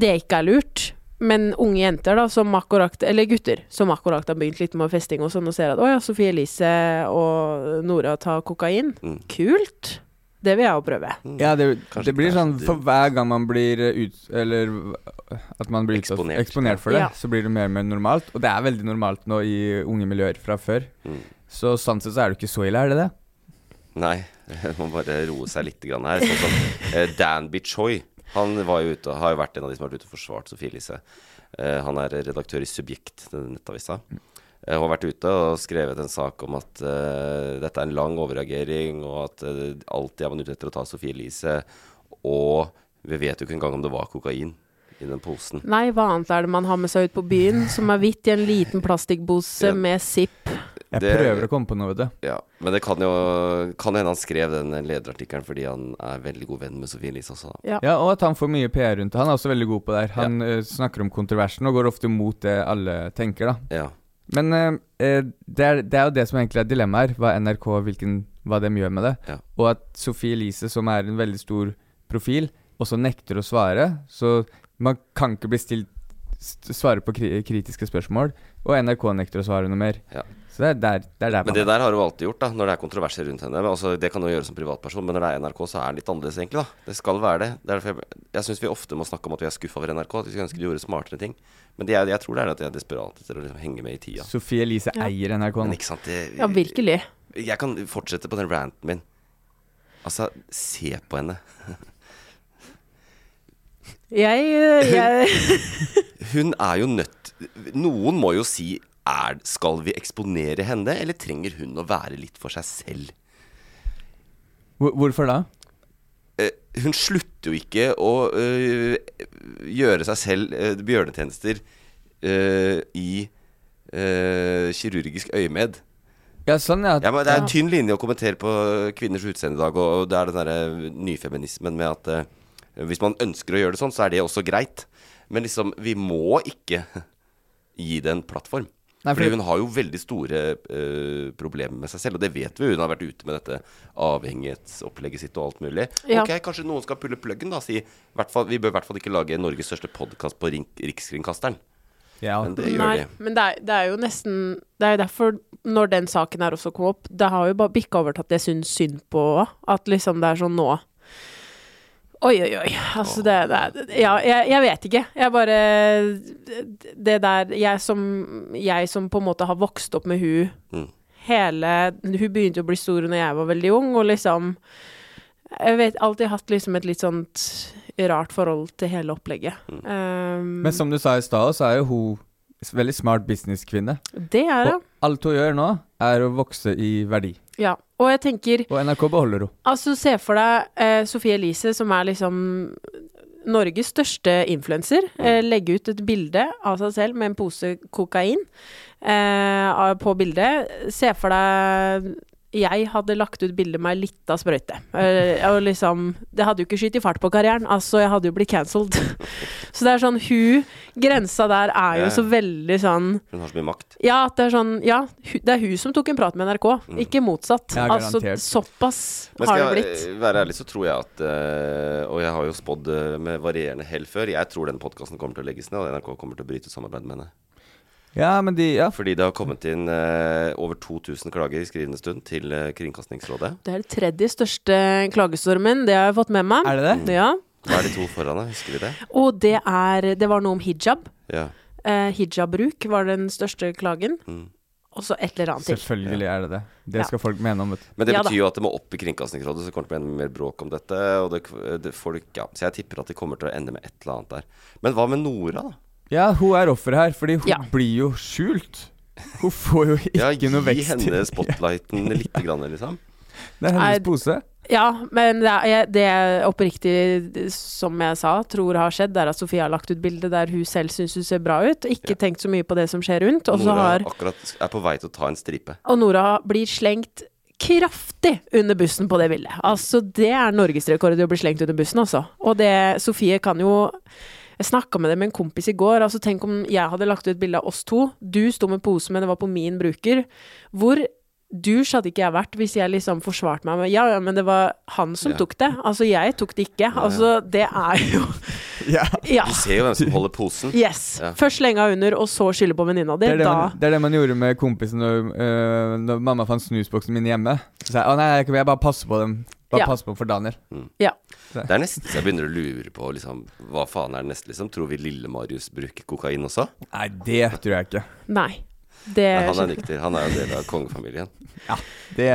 Speaker 3: det ikke er lurt. Men unge jenter, da, som akkurat, eller gutter, som akkurat har begynt litt med festing og sånn, og ser at å ja, Sofie Elise og Nora tar kokain.
Speaker 1: Mm.
Speaker 3: Kult! Det vil jeg jo prøve.
Speaker 2: Ja, det,
Speaker 1: Kanskje
Speaker 2: det blir
Speaker 1: ikke det er
Speaker 2: sånn
Speaker 1: så
Speaker 2: for
Speaker 1: dumt.
Speaker 2: hver gang man blir ut... Eller at man blir utsatt-
Speaker 1: Eksponert.
Speaker 2: eksponert for det,
Speaker 3: Ja.
Speaker 2: så blir det mer og mer normalt. Og det er veldig normalt nå i unge miljøer fra før.
Speaker 1: Mm.
Speaker 2: Så sånn sett så er det ikke så ille, er det det?
Speaker 1: Nei, man må bare roe seg litt grann her. Sånn som eh, Danby Choi. Han var jo ute, har jo vært en av de som har vært ute og forsvart Sofie Elise. Eh, han er redaktør i Subjekt, denne nettavisa. Eh, hun har vært ute og skrevet en sak om at eh, dette er en lang overreagering, og at eh, alltid er man ute etter å ta Sofie Elise. Og vi vet jo ikke engang om det var kokain i den posen.
Speaker 3: Nei, hva annet er det man har med seg ut på byen, som er hvitt i en liten plastikkbose
Speaker 1: Ja.
Speaker 3: med sipp?
Speaker 2: Jeg
Speaker 1: Det-
Speaker 2: prøver å komme på noe, vet du.
Speaker 1: Ja, Men det kan jo kan hende han skrev den lederartikkelen fordi han er veldig god venn med Sofie Elise også. da.
Speaker 2: Ja, Og at han får mye PR rundt det. Han er også veldig god på det her. Han eh, snakker om kontroversen og går ofte mot det alle tenker, da.
Speaker 1: Ja.
Speaker 2: Men eh, eh, det, er, det er jo det som egentlig er dilemmaet her, hva NRK hvilken, hva de gjør med det.
Speaker 1: Ja.
Speaker 2: Og at Sophie Elise, som er en veldig stor profil, også nekter å svare. Så man kan ikke bli stilt st- svare på kri kritiske spørsmål, og NRK nekter å svare noe mer.
Speaker 1: Ja.
Speaker 2: Så det er der, det er der
Speaker 1: Men
Speaker 2: man
Speaker 1: det der har hun alltid gjort, da, når det er kontroverser rundt henne. Men Altså, det kan hun gjøre som privatperson, men når det er NRK, så er den litt annerledes, egentlig. da Det skal være det. det er derfor jeg jeg syns vi ofte må snakke om at vi er skuffa over NRK, at vi skulle ønske de gjorde smartere ting. Men det jeg, jeg tror det er at de er desperate etter å liksom henge med i tida.
Speaker 2: Sophie Elise eier NRK
Speaker 1: Men
Speaker 2: nå.
Speaker 1: ikke sant det,
Speaker 3: Ja, virkelig.
Speaker 1: Jeg kan fortsette på den ranten min. Altså, se på henne.
Speaker 3: Jeg, eh, jeg
Speaker 1: Hun er jo nødt Noen må jo si er, Skal vi eksponere henne, eller trenger hun å være litt for seg selv?
Speaker 2: Hvor- Hvorfor da?
Speaker 1: eh, hun slutter jo ikke å eh, gjøre seg selv eh, bjørnetjenester eh, i eh, kirurgisk øyemed.
Speaker 2: Ja, sånn, ja.
Speaker 1: Ja, men det er en tynn linje å kommentere på kvinners utseende i dag, og det er den derre nyfeminismen med at eh, hvis man ønsker å gjøre det sånn, så er det også greit. Men liksom, vi må ikke gi det en plattform.
Speaker 2: Nei, for-
Speaker 1: Fordi hun har jo veldig store eh, problemer med seg selv, og det vet vi. Hun har vært ute med dette avhengighetsopplegget sitt og alt mulig.
Speaker 3: Ja.
Speaker 1: Ok, kanskje noen skal pulle pluggen, da. Si, i hvert fall, vi bør i hvert fall ikke lage Norges største podkast på Rik- Rikskringkasteren.
Speaker 2: ja.
Speaker 1: Men det gjør
Speaker 3: Nei,
Speaker 1: de.
Speaker 3: men det er, det er jo nesten Det er jo derfor, når den saken her også kom opp, det har jo bare bikka over til at jeg syns synd på òg. At liksom det er sånn nå Oi, oi, oi. Altså, det, det er Ja, jeg, jeg vet ikke. Jeg bare Det der jeg som, jeg som på en måte har vokst opp med hun
Speaker 1: Mm.
Speaker 3: hele Hun begynte jo å bli stor når jeg var veldig ung, og liksom Jeg vet alltid hatt liksom et litt sånt rart forhold til hele opplegget.
Speaker 1: Mm.
Speaker 3: Um,
Speaker 2: Men som du sa i stad, så er jo hun s- veldig smart businesskvinne.
Speaker 3: det er hun.
Speaker 2: Og alt hun gjør nå, er å vokse i verdi.
Speaker 3: Ja. Og jeg tenker
Speaker 2: Og NRK beholder henne.
Speaker 3: Altså, se for deg eh, Sofie Elise, som er liksom Norges største influenser, eh, legge ut et bilde av seg selv med en pose kokain eh, av- på bildet. Se for deg jeg hadde lagt ut bilde med ei lita sprøyte. Eh, og liksom Det hadde jo ikke skutt i fart på karrieren. Altså, jeg hadde jo blitt cancelled. så det er sånn Hun Grensa der
Speaker 1: Ja,
Speaker 3: er
Speaker 1: ja.
Speaker 3: jo så veldig sånn sånnn
Speaker 1: Hun har så mye makt.
Speaker 3: ja, at det er sånn Ja, hu- det er hun som tok en prat med NRK, ikke motsatt.
Speaker 2: Mm. Ja,
Speaker 3: altså,
Speaker 2: garantert.
Speaker 3: såpass
Speaker 1: Men
Speaker 3: har
Speaker 1: skal
Speaker 3: det
Speaker 1: jeg
Speaker 3: blitt.
Speaker 1: eh, være ærlig, så tror jeg at eh, Og jeg har jo spådd eh, med varierende hell før. Jeg tror denne podkasten kommer til å legges ned, og NRK kommer til å bryte ut samarbeidet med henne.
Speaker 2: Ja, men de Ja,
Speaker 1: Fordi det har kommet inn eh, over 2000 klager i skrivende stund til eh, Kringkastingsrådet.
Speaker 3: Det er den tredje største klagestormen, det har jeg fått med meg.
Speaker 2: er det det?
Speaker 3: Ja.
Speaker 1: Hva er de to foran, da? Husker vi det?
Speaker 3: Og det er Det var noe om hijab.
Speaker 1: Ja.
Speaker 3: Eh, hijabbruk var den største klagen. Og så et eller annet til.
Speaker 2: Mm. Selvfølgelig er det det.
Speaker 3: Ja.
Speaker 2: Det skal folk mene om, vet du.
Speaker 1: Men det
Speaker 3: Ja da.
Speaker 1: betyr jo at det må opp i Kringkastingsrådet, så kommer det til å bli enda mer bråk om dette. Og det, det folk, ja. Så jeg tipper at det kommer til å ende med et eller annet der. Men hva med Nora, da?
Speaker 2: Ja, hun er offer her, fordi hun
Speaker 3: Ja.
Speaker 2: blir jo skjult. Hun får jo ikke
Speaker 1: Ja,
Speaker 2: noe
Speaker 1: gi
Speaker 2: vekst.
Speaker 1: henne spotlighten lite grann, liksom.
Speaker 2: Det er hennes
Speaker 3: Nei,
Speaker 2: pose.
Speaker 3: Ja, men det, er, jeg- det jeg oppriktig, som jeg sa, tror har skjedd, er at Sofie har lagt ut bilde der hun selv syns hun ser bra ut, og ikke tenkt så mye på det som skjer rundt. Og så
Speaker 1: Nora
Speaker 3: har
Speaker 1: akkurat er på vei til å ta en stripe.
Speaker 3: Og Nora blir slengt kraftig under bussen på det bildet. Altså, det er norgesrekord i å bli slengt under bussen, altså. Og det Sofie kan jo Jeg snakka med det med en kompis i går. Altså, tenk om jeg hadde lagt ut bilde av oss to. Du sto med pose, men det var på min bruker. Hvor douche hadde ikke jeg vært hvis jeg liksom forsvarte meg med Ja, ja, men det var han som
Speaker 1: Ja.
Speaker 3: tok det. Altså, jeg tok det ikke. Altså, det er jo
Speaker 2: Ja.
Speaker 3: Ja.
Speaker 1: Du ser jo hvem som holder posen.
Speaker 3: Yes.
Speaker 1: Ja.
Speaker 3: Først slenga under, og så skylde på venninna di.
Speaker 2: Det er det,
Speaker 3: Da
Speaker 2: man, det er det man gjorde med kompisen når, øh, når mamma fant snusboksen min hjemme. Så sa jeg å nei, jeg kan- jeg bare passer på dem. Bare
Speaker 3: Ja.
Speaker 2: passer på for Daniel.
Speaker 3: Ja.
Speaker 1: Det er nesten så jeg begynner å lure på liksom, hva faen er det neste, liksom. Tror vi Lille-Marius bruker kokain også?
Speaker 2: Nei, det tror jeg ikke.
Speaker 3: Nei. Det
Speaker 1: Nei, han
Speaker 3: skjedde
Speaker 1: er riktig. Han er jo en del av kongefamilien.
Speaker 2: Det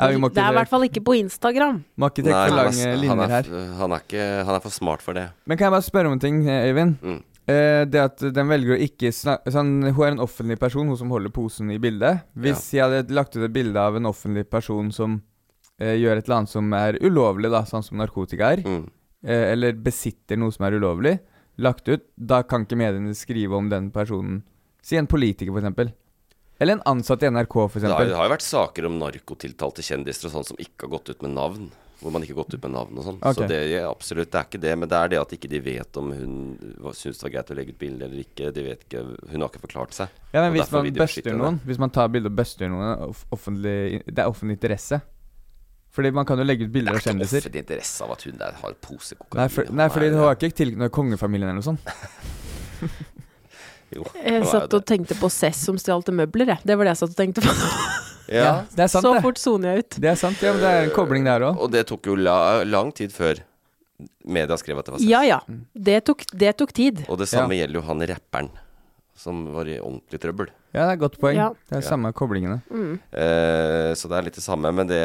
Speaker 2: ja, vi må
Speaker 3: det
Speaker 2: ikke,
Speaker 3: er i hvert fall ikke på Instagram.
Speaker 2: må ikke trekke for
Speaker 1: han,
Speaker 2: lange
Speaker 1: er, han,
Speaker 2: linjer
Speaker 1: er,
Speaker 2: her.
Speaker 1: han, er ikke, han er for smart for det.
Speaker 2: Men kan jeg bare spørre om en ting, eh, Øyvind?
Speaker 1: Mm.
Speaker 2: Eh, det at den velger å ikke snakke sånn, Hun er en offentlig person, hun som holder posen i bildet. Hvis jeg hadde lagt ut et bilde av en offentlig person som eh, gjør et eller annet som er ulovlig, da, sånn som narkotika er,
Speaker 1: Mm.
Speaker 2: eh, eller besitter noe som er ulovlig, lagt ut, da kan ikke mediene skrive om den personen. Si en politiker, for eksempel. Eller en ansatt i NRK, for
Speaker 1: Det har,
Speaker 2: eksempel.
Speaker 1: det har jo vært saker om narkotiltalte kjendiser og sånn som ikke har gått ut med navn. Hvor man ikke har gått ut med navn og sånn.
Speaker 2: Ok.
Speaker 1: Så det er absolutt, det er ikke det. Men det er det at ikke de vet om hun hva- syns det var greit å legge ut bilde eller ikke. De vet ikke, Hun har ikke forklart seg.
Speaker 2: Ja, men
Speaker 1: Og
Speaker 2: hvis
Speaker 1: derfor
Speaker 2: man
Speaker 1: vil de beskytte
Speaker 2: buster
Speaker 1: henne.
Speaker 2: noen, hvis man tar bilde og buster noen, off- offentlig, det er offentlig interesse. Fordi man kan jo legge
Speaker 1: Det
Speaker 2: ut bilder
Speaker 1: er
Speaker 2: av
Speaker 1: ikke
Speaker 2: kjendiser.
Speaker 1: offentlig interesse av at hun der har pose kokain.
Speaker 2: Nei, for, nei, fordi hun har ikke tilknyttet kongefamilien eller noe sånt.
Speaker 1: Jo, hun er
Speaker 3: Jeg
Speaker 1: jo
Speaker 3: satt og
Speaker 1: det.
Speaker 3: tenkte på Cess som stjal til møbler, jeg. Det var det jeg satt og tenkte på.
Speaker 1: ja.
Speaker 2: Det er sant,
Speaker 3: Så
Speaker 2: det.
Speaker 3: fort soner jeg ut.
Speaker 2: Det er sant, ja, men det er en kobling der òg.
Speaker 1: Og det tok jo la, lang tid før media skrev at det var sex.
Speaker 3: Ja ja. Det tok, det tok tid.
Speaker 1: Og det samme gjelder jo han rapperen som var i ordentlig trøbbel.
Speaker 2: Ja, det er et godt poeng.
Speaker 3: Ja.
Speaker 2: Det er samme koblingene.
Speaker 1: Eh, så det er litt det samme, men det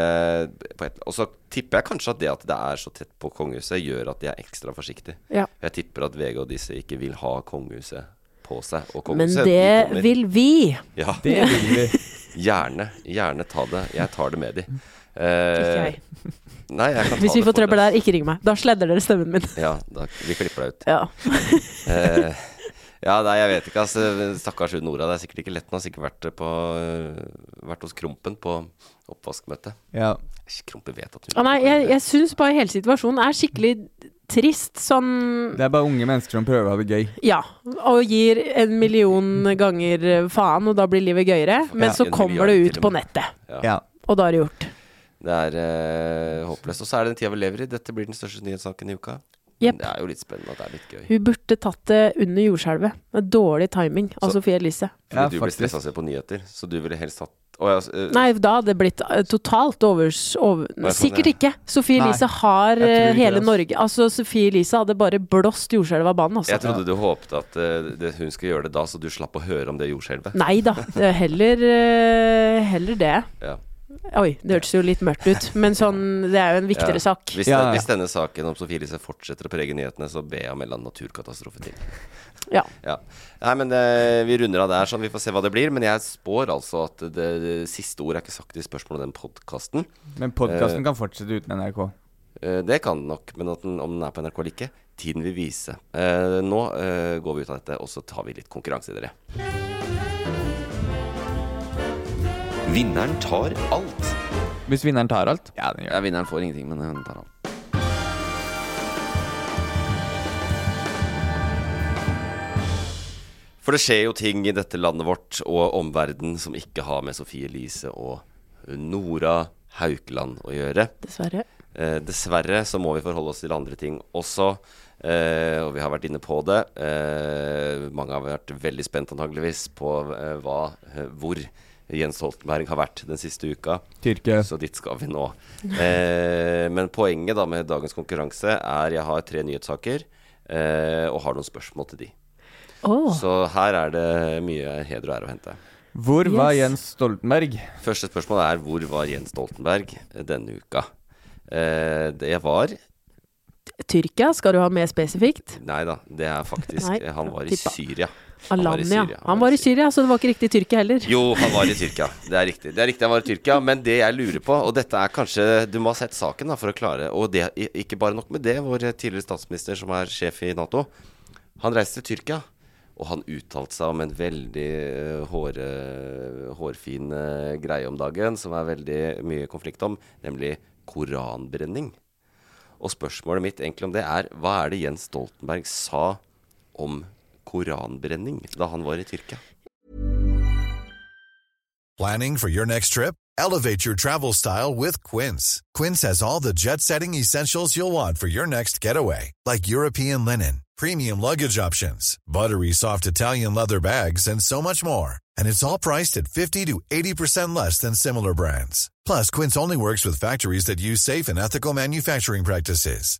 Speaker 1: på et, Og så tipper jeg kanskje at det at det er så tett på kongehuset, gjør at de er ekstra forsiktige.
Speaker 3: Ja.
Speaker 1: Jeg tipper at VG og disse ikke vil ha kongehuset på seg. Og
Speaker 3: Men
Speaker 1: kongehuset de
Speaker 3: det
Speaker 1: kommer-
Speaker 3: vil vi.
Speaker 1: Ja,
Speaker 2: Det vil vi.
Speaker 1: gjerne. Gjerne ta det. Jeg tar det med de. Eh,
Speaker 3: Ikke jeg.
Speaker 1: Nei, jeg kan ta
Speaker 3: Hvis vi
Speaker 1: det
Speaker 3: får
Speaker 1: for
Speaker 3: trøbbel
Speaker 1: deg.
Speaker 3: der, ikke ring meg. Da sledder dere stemmen min.
Speaker 1: Ja, da, vi klipper deg ut.
Speaker 3: Ja.
Speaker 1: Eh, ja, nei, jeg vet ikke. Altså, stakkars hun Nora. Det er sikkert ikke lett. Hun har sikkert vært, på, eh, vært hos Krompen på oppvaskmøte.
Speaker 2: Ja.
Speaker 1: Krompe vet at hun
Speaker 3: Å Ah, nei, jeg, jeg syns bare hele situasjonen er skikkelig trist. Sånn
Speaker 2: Det er bare unge mennesker som prøver å ha det gøy.
Speaker 3: ja. Og gir en million ganger eh, faen, og da blir livet
Speaker 1: Ja.
Speaker 3: gøyere. Men så
Speaker 1: En milliard
Speaker 3: kommer det
Speaker 1: til
Speaker 3: ut
Speaker 1: og
Speaker 3: på
Speaker 1: med.
Speaker 3: nettet.
Speaker 2: Ja.
Speaker 3: Og da er det gjort.
Speaker 1: Det er eh, håpløst. Og så er det den tida vi lever i. Dette blir den største nyhetssaken i uka.
Speaker 3: Jepp.
Speaker 1: Det er jo litt spennende at det er litt gøy.
Speaker 3: Hun burde tatt det under jordskjelvet. Det er Dårlig timing av
Speaker 1: Så-
Speaker 3: Sophie Elise.
Speaker 1: Fordi
Speaker 2: Ja,
Speaker 1: du blir
Speaker 2: faktisk.
Speaker 1: stressa av å se på nyheter, så du ville helst hatt Å ja, s- eh,
Speaker 3: Nei, da hadde det blitt eh, totalt overs... Over,
Speaker 1: Nei, sånn,
Speaker 3: sikkert
Speaker 1: ja.
Speaker 3: ikke. Sophie
Speaker 2: Nei,
Speaker 3: Elise har
Speaker 2: jeg tror
Speaker 3: eh,
Speaker 2: ikke
Speaker 3: hele
Speaker 2: det, ass.
Speaker 3: Norge Altså, Sophie Elise hadde bare blåst jordskjelvet av banen, altså.
Speaker 1: Jeg trodde du håpet at eh, det, hun skulle gjøre det da, så du slapp å høre om det jordskjelvet.
Speaker 3: Nei da. det er Heller, eh, heller det.
Speaker 1: Ja.
Speaker 3: Oi, det hørtes jo litt mørkt ut, men sånn, det er jo en viktigere
Speaker 1: Ja.
Speaker 3: sak.
Speaker 1: Hvis,
Speaker 2: Ja, ja.
Speaker 1: hvis denne saken om Sofie Elise fortsetter å prege nyhetene, så be jeg om en eller annen naturkatastrofe til.
Speaker 3: Ja.
Speaker 1: Ja. Nei, men eh, Vi runder av der, sånn vi får se hva det blir. Men jeg spår altså at det, det siste ordet er ikke sagt i spørsmålet om den podkasten.
Speaker 2: Men podkasten kan fortsette uten NRK.
Speaker 1: Eh, det kan den nok, men at den, om den er på NRK eller ikke, tiden vil vise. Eh, nå eh, går vi ut av dette, og så tar vi litt konkurranse, dere. Vinneren tar alt.
Speaker 2: Hvis vinneren tar alt. Ja, den
Speaker 1: Ja, vinneren får ingenting, men hun tar alt. For det skjer jo ting i dette landet vårt og omverdenen som ikke har med Sofie Elise og Nora Haukeland å gjøre.
Speaker 3: Dessverre.
Speaker 1: Eh, dessverre så må vi forholde oss til andre ting også. Eh, og vi har vært inne på det. Eh, mange har vært veldig spent antageligvis på eh, hva, eh, hvor Jens Stoltenberg har vært den siste uka.
Speaker 2: Tyrkia.
Speaker 1: Så dit skal vi nå. Eh, men poenget da med dagens konkurranse er jeg har tre nyhetssaker eh, og har noen spørsmål til de.
Speaker 3: Åh,
Speaker 1: Så her er det mye heder og ære å hente.
Speaker 2: Hvor var
Speaker 3: Yes.
Speaker 2: Jens Stoltenberg?
Speaker 1: Første spørsmål er hvor var Jens Stoltenberg denne uka? Eh, det var
Speaker 3: Tyrkia skal du ha mer spesifikt.
Speaker 1: Nei da, det er faktisk eh,
Speaker 3: Nei,
Speaker 1: Han var i
Speaker 3: tippa.
Speaker 1: Syria. Han var i
Speaker 3: Alanya.
Speaker 1: Syria,
Speaker 3: Han var i Syria, så det var ikke riktig Tyrkia heller.
Speaker 1: Jo, han var i Tyrkia. Det er riktig. Det er riktig han var i Tyrkia Men det jeg lurer på, og dette er kanskje Du må ha sett saken da for å klare Og det, i- ikke bare nok med det, vår tidligere statsminister som er sjef i Nato, han reiste til Tyrkia. Og han uttalte seg om en veldig eh, håre, hårfin eh, greie om dagen som er veldig mye konflikt om, nemlig koranbrenning. Og spørsmålet mitt egentlig om det er hva er det Jens Stoltenberg sa om koranbrenning da han var i Tyrkia?
Speaker 5: Planning for your next trip? Elevate your travel style with Quince. Quince has all the jet setting essentials you'll want for your next getaway, like European linen, premium luggage options, buttery soft Italian leather bags, and so much more. And it's all priced at 50 to 80% less than similar brands. Plus, Quince only works with factories that use safe and ethical manufacturing practices.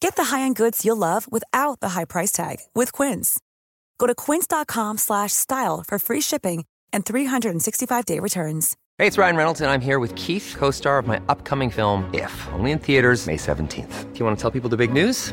Speaker 6: Get the high-end goods you'll love without the high price tag with Quince. Go to quince.com/style slash style for free shipping and 365-day returns.
Speaker 7: Hey, it's Ryan Reynolds, and I'm here with Keith, co star of my upcoming film, If, only in theaters, May 17th. Do you want to tell people the big news?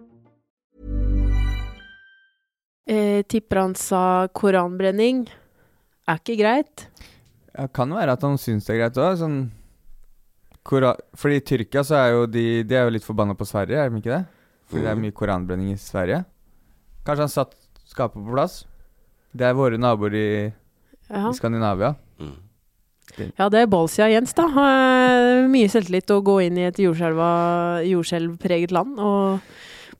Speaker 3: Eh, tipper han sa koranbrenning. Er ikke greit.
Speaker 2: Ja, kan være at han syns det er greit òg. Sånn Kora Fordi i Tyrkia så er jo de De er jo litt forbanna på Sverige, er de ikke det? Fordi det er mye koranbrenning i Sverige. Kanskje han satt skapet på plass? Det er våre naboer i,
Speaker 3: Ja,
Speaker 2: i Skandinavia.
Speaker 1: Mm.
Speaker 3: ja det er ballsida Jens, da. Eh, mye selvtillit å gå inn i et jordskjelva- jordskjelvpreget land og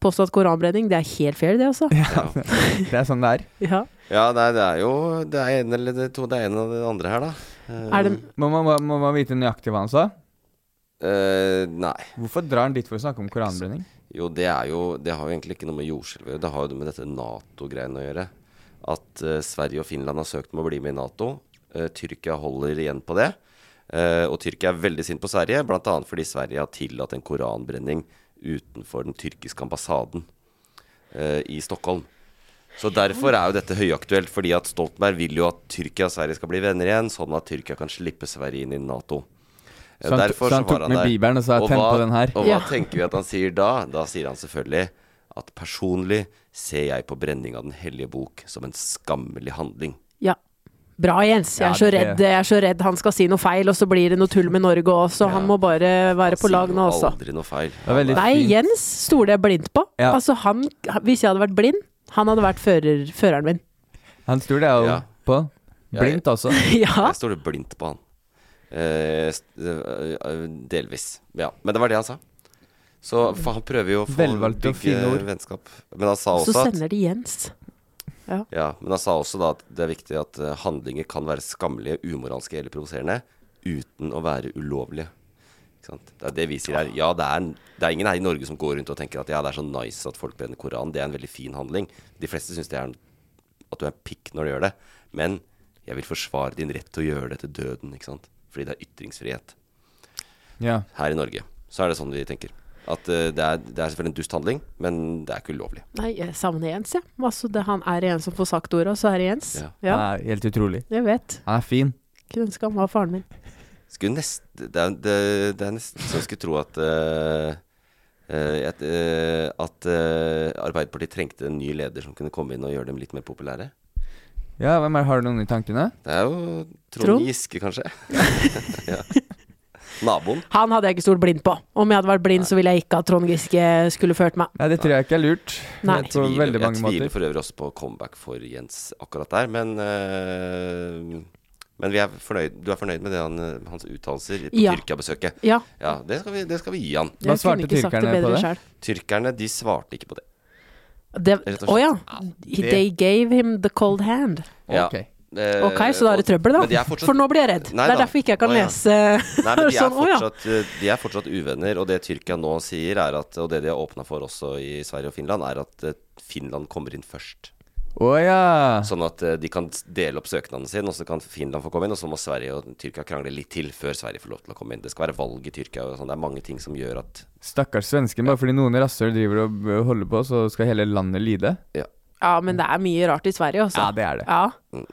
Speaker 3: påstå at koranbrenning, det er helt fair, det, altså.
Speaker 2: Ja, det er sånn det er.
Speaker 3: Ja.
Speaker 1: Ja, nei, det er jo Det er en eller det to, det er en av det andre her, da. Eh,
Speaker 3: Er det
Speaker 2: Må man, må, må man vite nøyaktig hva han sa?
Speaker 1: eh, nei.
Speaker 2: Hvorfor drar han dit for å snakke om koranbrenning?
Speaker 1: Jo, det er jo Det har jo egentlig ikke noe med jordskjelv å gjøre. Det har jo det med dette Nato-greiene å gjøre. At eh, Sverige og Finland har søkt om å bli med i Nato. Eh, Tyrkia holder igjen på det. Eh, og Tyrkia er veldig sint på Sverige, bl.a. fordi Sverige har tillatt en koranbrenning utenfor den tyrkiske ambassaden. eh, i Stockholm. Så derfor er jo dette høyaktuelt, fordi at Stoltenberg vil jo at Tyrkia og Sverige skal bli venner igjen, sånn at Tyrkia kan slippe Sverige inn i Nato. Eh,
Speaker 2: Så han,
Speaker 1: derfor
Speaker 2: så han
Speaker 1: var
Speaker 2: tok med
Speaker 1: der.
Speaker 2: bibelen og sa
Speaker 1: Og
Speaker 2: tenn
Speaker 1: hva-
Speaker 2: på den her.
Speaker 1: Og hva
Speaker 3: Ja.
Speaker 1: tenker vi at han sier da? Da sier han selvfølgelig at personlig ser jeg på brenning av Den hellige bok som en skammelig handling.
Speaker 3: Ja. Bra, Jens. Jeg
Speaker 2: Ja,
Speaker 3: er, så
Speaker 2: det-
Speaker 3: redd, jeg er så redd han skal si noe feil, og så blir det noe tull med Norge òg, så
Speaker 1: Ja.
Speaker 3: han må bare være på
Speaker 1: Han
Speaker 3: lag
Speaker 1: sier
Speaker 3: nå altså.
Speaker 1: jo
Speaker 3: også.
Speaker 1: Aldri noe feil.
Speaker 2: Det var veldig
Speaker 3: Nei,
Speaker 2: Altså, fint.
Speaker 3: Jens stoler jeg blindt på.
Speaker 2: Ja.
Speaker 3: Altså, han, hvis jeg hadde vært blind, han hadde vært fører, føreren min.
Speaker 2: Han stoler jeg jo
Speaker 1: Ja.
Speaker 2: på.
Speaker 1: Ja,
Speaker 2: Blindt også.
Speaker 3: ja.
Speaker 1: Jeg står blindt på han. Eh, s- eh, eh, delvis. Ja. Men det var det han sa. Så for han prøver jo å få
Speaker 2: Velvalgte og fine ord.
Speaker 1: bygge vennskap. Men han sa
Speaker 3: Så
Speaker 2: altså.
Speaker 1: også at
Speaker 3: sender de Jens.
Speaker 1: Ja, men han sa også da at det er viktig at eh, handlinger kan være skammelige, umoralske eller provoserende uten å være ulovlige. Ikke sant? Det er det vi sier her. Ja, det er, det er ingen her i Norge som går rundt og tenker at ja, det er så nice at folk brenner Koranen. Det er en veldig fin handling. De fleste syns det er en, at du er en pikk når du gjør det. Men jeg vil forsvare din rett til å gjøre det til døden, ikke sant. Fordi det er ytringsfrihet
Speaker 2: Ja.
Speaker 1: her i Norge. Så er det sånn vi tenker. At eh, det, er, det er selvfølgelig en dust handling, men det er ikke ulovlig.
Speaker 3: Nei, jeg savner Jens, jeg. Ja. Altså, det- han er en som får sagt ordet, og så er det Jens.
Speaker 1: Ja.
Speaker 3: Ja,
Speaker 2: Han er helt utrolig.
Speaker 3: jeg vet.
Speaker 2: Han er fin.
Speaker 3: Kunne ønske han var faren min.
Speaker 1: Skulle nest, det, er, det, det er nesten så jeg skulle tro at eh, eh, at, eh, at eh, Arbeiderpartiet trengte en ny leder som kunne komme inn og gjøre dem litt mer populære.
Speaker 2: Ja, hvem er, Har du noen i tankene?
Speaker 1: Det er jo Trond,
Speaker 3: Trond?
Speaker 1: Giske, kanskje. ja. Naboen.
Speaker 3: Han hadde jeg ikke stolt blind på. Om jeg hadde vært blind, så ville jeg ikke at Trond Giske skulle ført meg.
Speaker 2: Nei, det tror jeg ikke er lurt.
Speaker 3: Nei.
Speaker 2: På
Speaker 1: Tviler,
Speaker 2: veldig
Speaker 1: jeg
Speaker 2: mange
Speaker 1: tviler
Speaker 2: måter.
Speaker 1: for øvrig også på comeback for Jens akkurat der, men eh, men vi er fornøyd, du er fornøyd med det han, eh, hans uttalelser på
Speaker 3: Ja.
Speaker 1: Tyrkia-besøket?
Speaker 3: Ja.
Speaker 1: Ja, det skal, vi, det skal vi gi han.
Speaker 2: Hva
Speaker 3: Jeg kunne
Speaker 2: svarte
Speaker 3: ikke sagt det
Speaker 2: tyrkerne på
Speaker 3: bedre
Speaker 2: det?
Speaker 3: selv.
Speaker 1: Tyrkerne de svarte ikke på det.
Speaker 3: Det-
Speaker 1: Rett og slett.
Speaker 3: Å ja. They gave him the cold hand.
Speaker 1: Ja.
Speaker 2: Ok.
Speaker 1: Eh,
Speaker 3: Ok, så da er det trøbbel,
Speaker 1: men de
Speaker 3: da.
Speaker 1: er fortsatt-
Speaker 3: For nå blir jeg redd.
Speaker 1: Nei
Speaker 3: det er
Speaker 1: da.
Speaker 3: derfor ikke jeg kan
Speaker 1: Å, ja.
Speaker 3: lese
Speaker 1: Nei, men de er,
Speaker 3: sånn. Å ja.
Speaker 1: fortsatt, eh, de er fortsatt uvenner, og det Tyrkia nå sier, er at, og det de har åpna for også i Sverige og Finland, er at eh, Finland kommer inn først.
Speaker 2: Å ja.
Speaker 1: Sånn at eh, de kan dele opp søknaden sin, og så kan Finland få komme inn, og så må Sverige og Tyrkia krangle litt til før Sverige får lov til å komme inn. Det skal være valg i Tyrkia, og sånn. det er mange ting som gjør at
Speaker 2: Stakkars svensken. Bare fordi noen rasshøl driver og b- holder på, så skal hele landet lide.
Speaker 1: Ja,
Speaker 3: ja, men det er mye rart i Sverige også.
Speaker 2: Ja, det er det.
Speaker 3: Ja.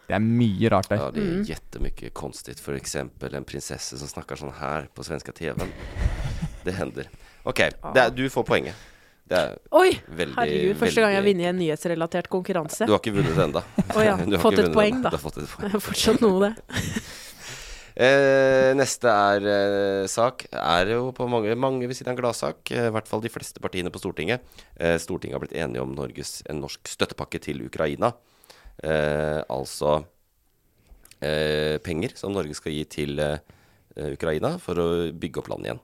Speaker 2: Det er mye rart
Speaker 1: ja
Speaker 2: der.
Speaker 1: de
Speaker 3: Mm.
Speaker 1: gjetter mye konstigt. For eksempel en prinsesse som snakker sånn her på svenska TV-en. Det hender. Ok, det er, du får poenget. Det er
Speaker 3: Oi!
Speaker 1: veldig
Speaker 3: Ah. Herregud, første gang jeg har
Speaker 1: veldig-
Speaker 3: vunnet i en nyhetsrelatert konkurranse.
Speaker 1: Du har ikke vunnet ennå.
Speaker 3: Å ja, fått et poeng, da.
Speaker 1: Du har fått et poeng.
Speaker 3: Det er fortsatt noe, det.
Speaker 1: Eh, neste er, eh, sak er jo på mange, mange vil si det er en gladsak. Eh, I hvert fall de fleste partiene på Stortinget. Eh, Stortinget har blitt enige om Norges, en norsk støttepakke til Ukraina. Eh, altså eh, penger som Norge skal gi til eh, eh, Ukraina for å bygge opp landet igjen.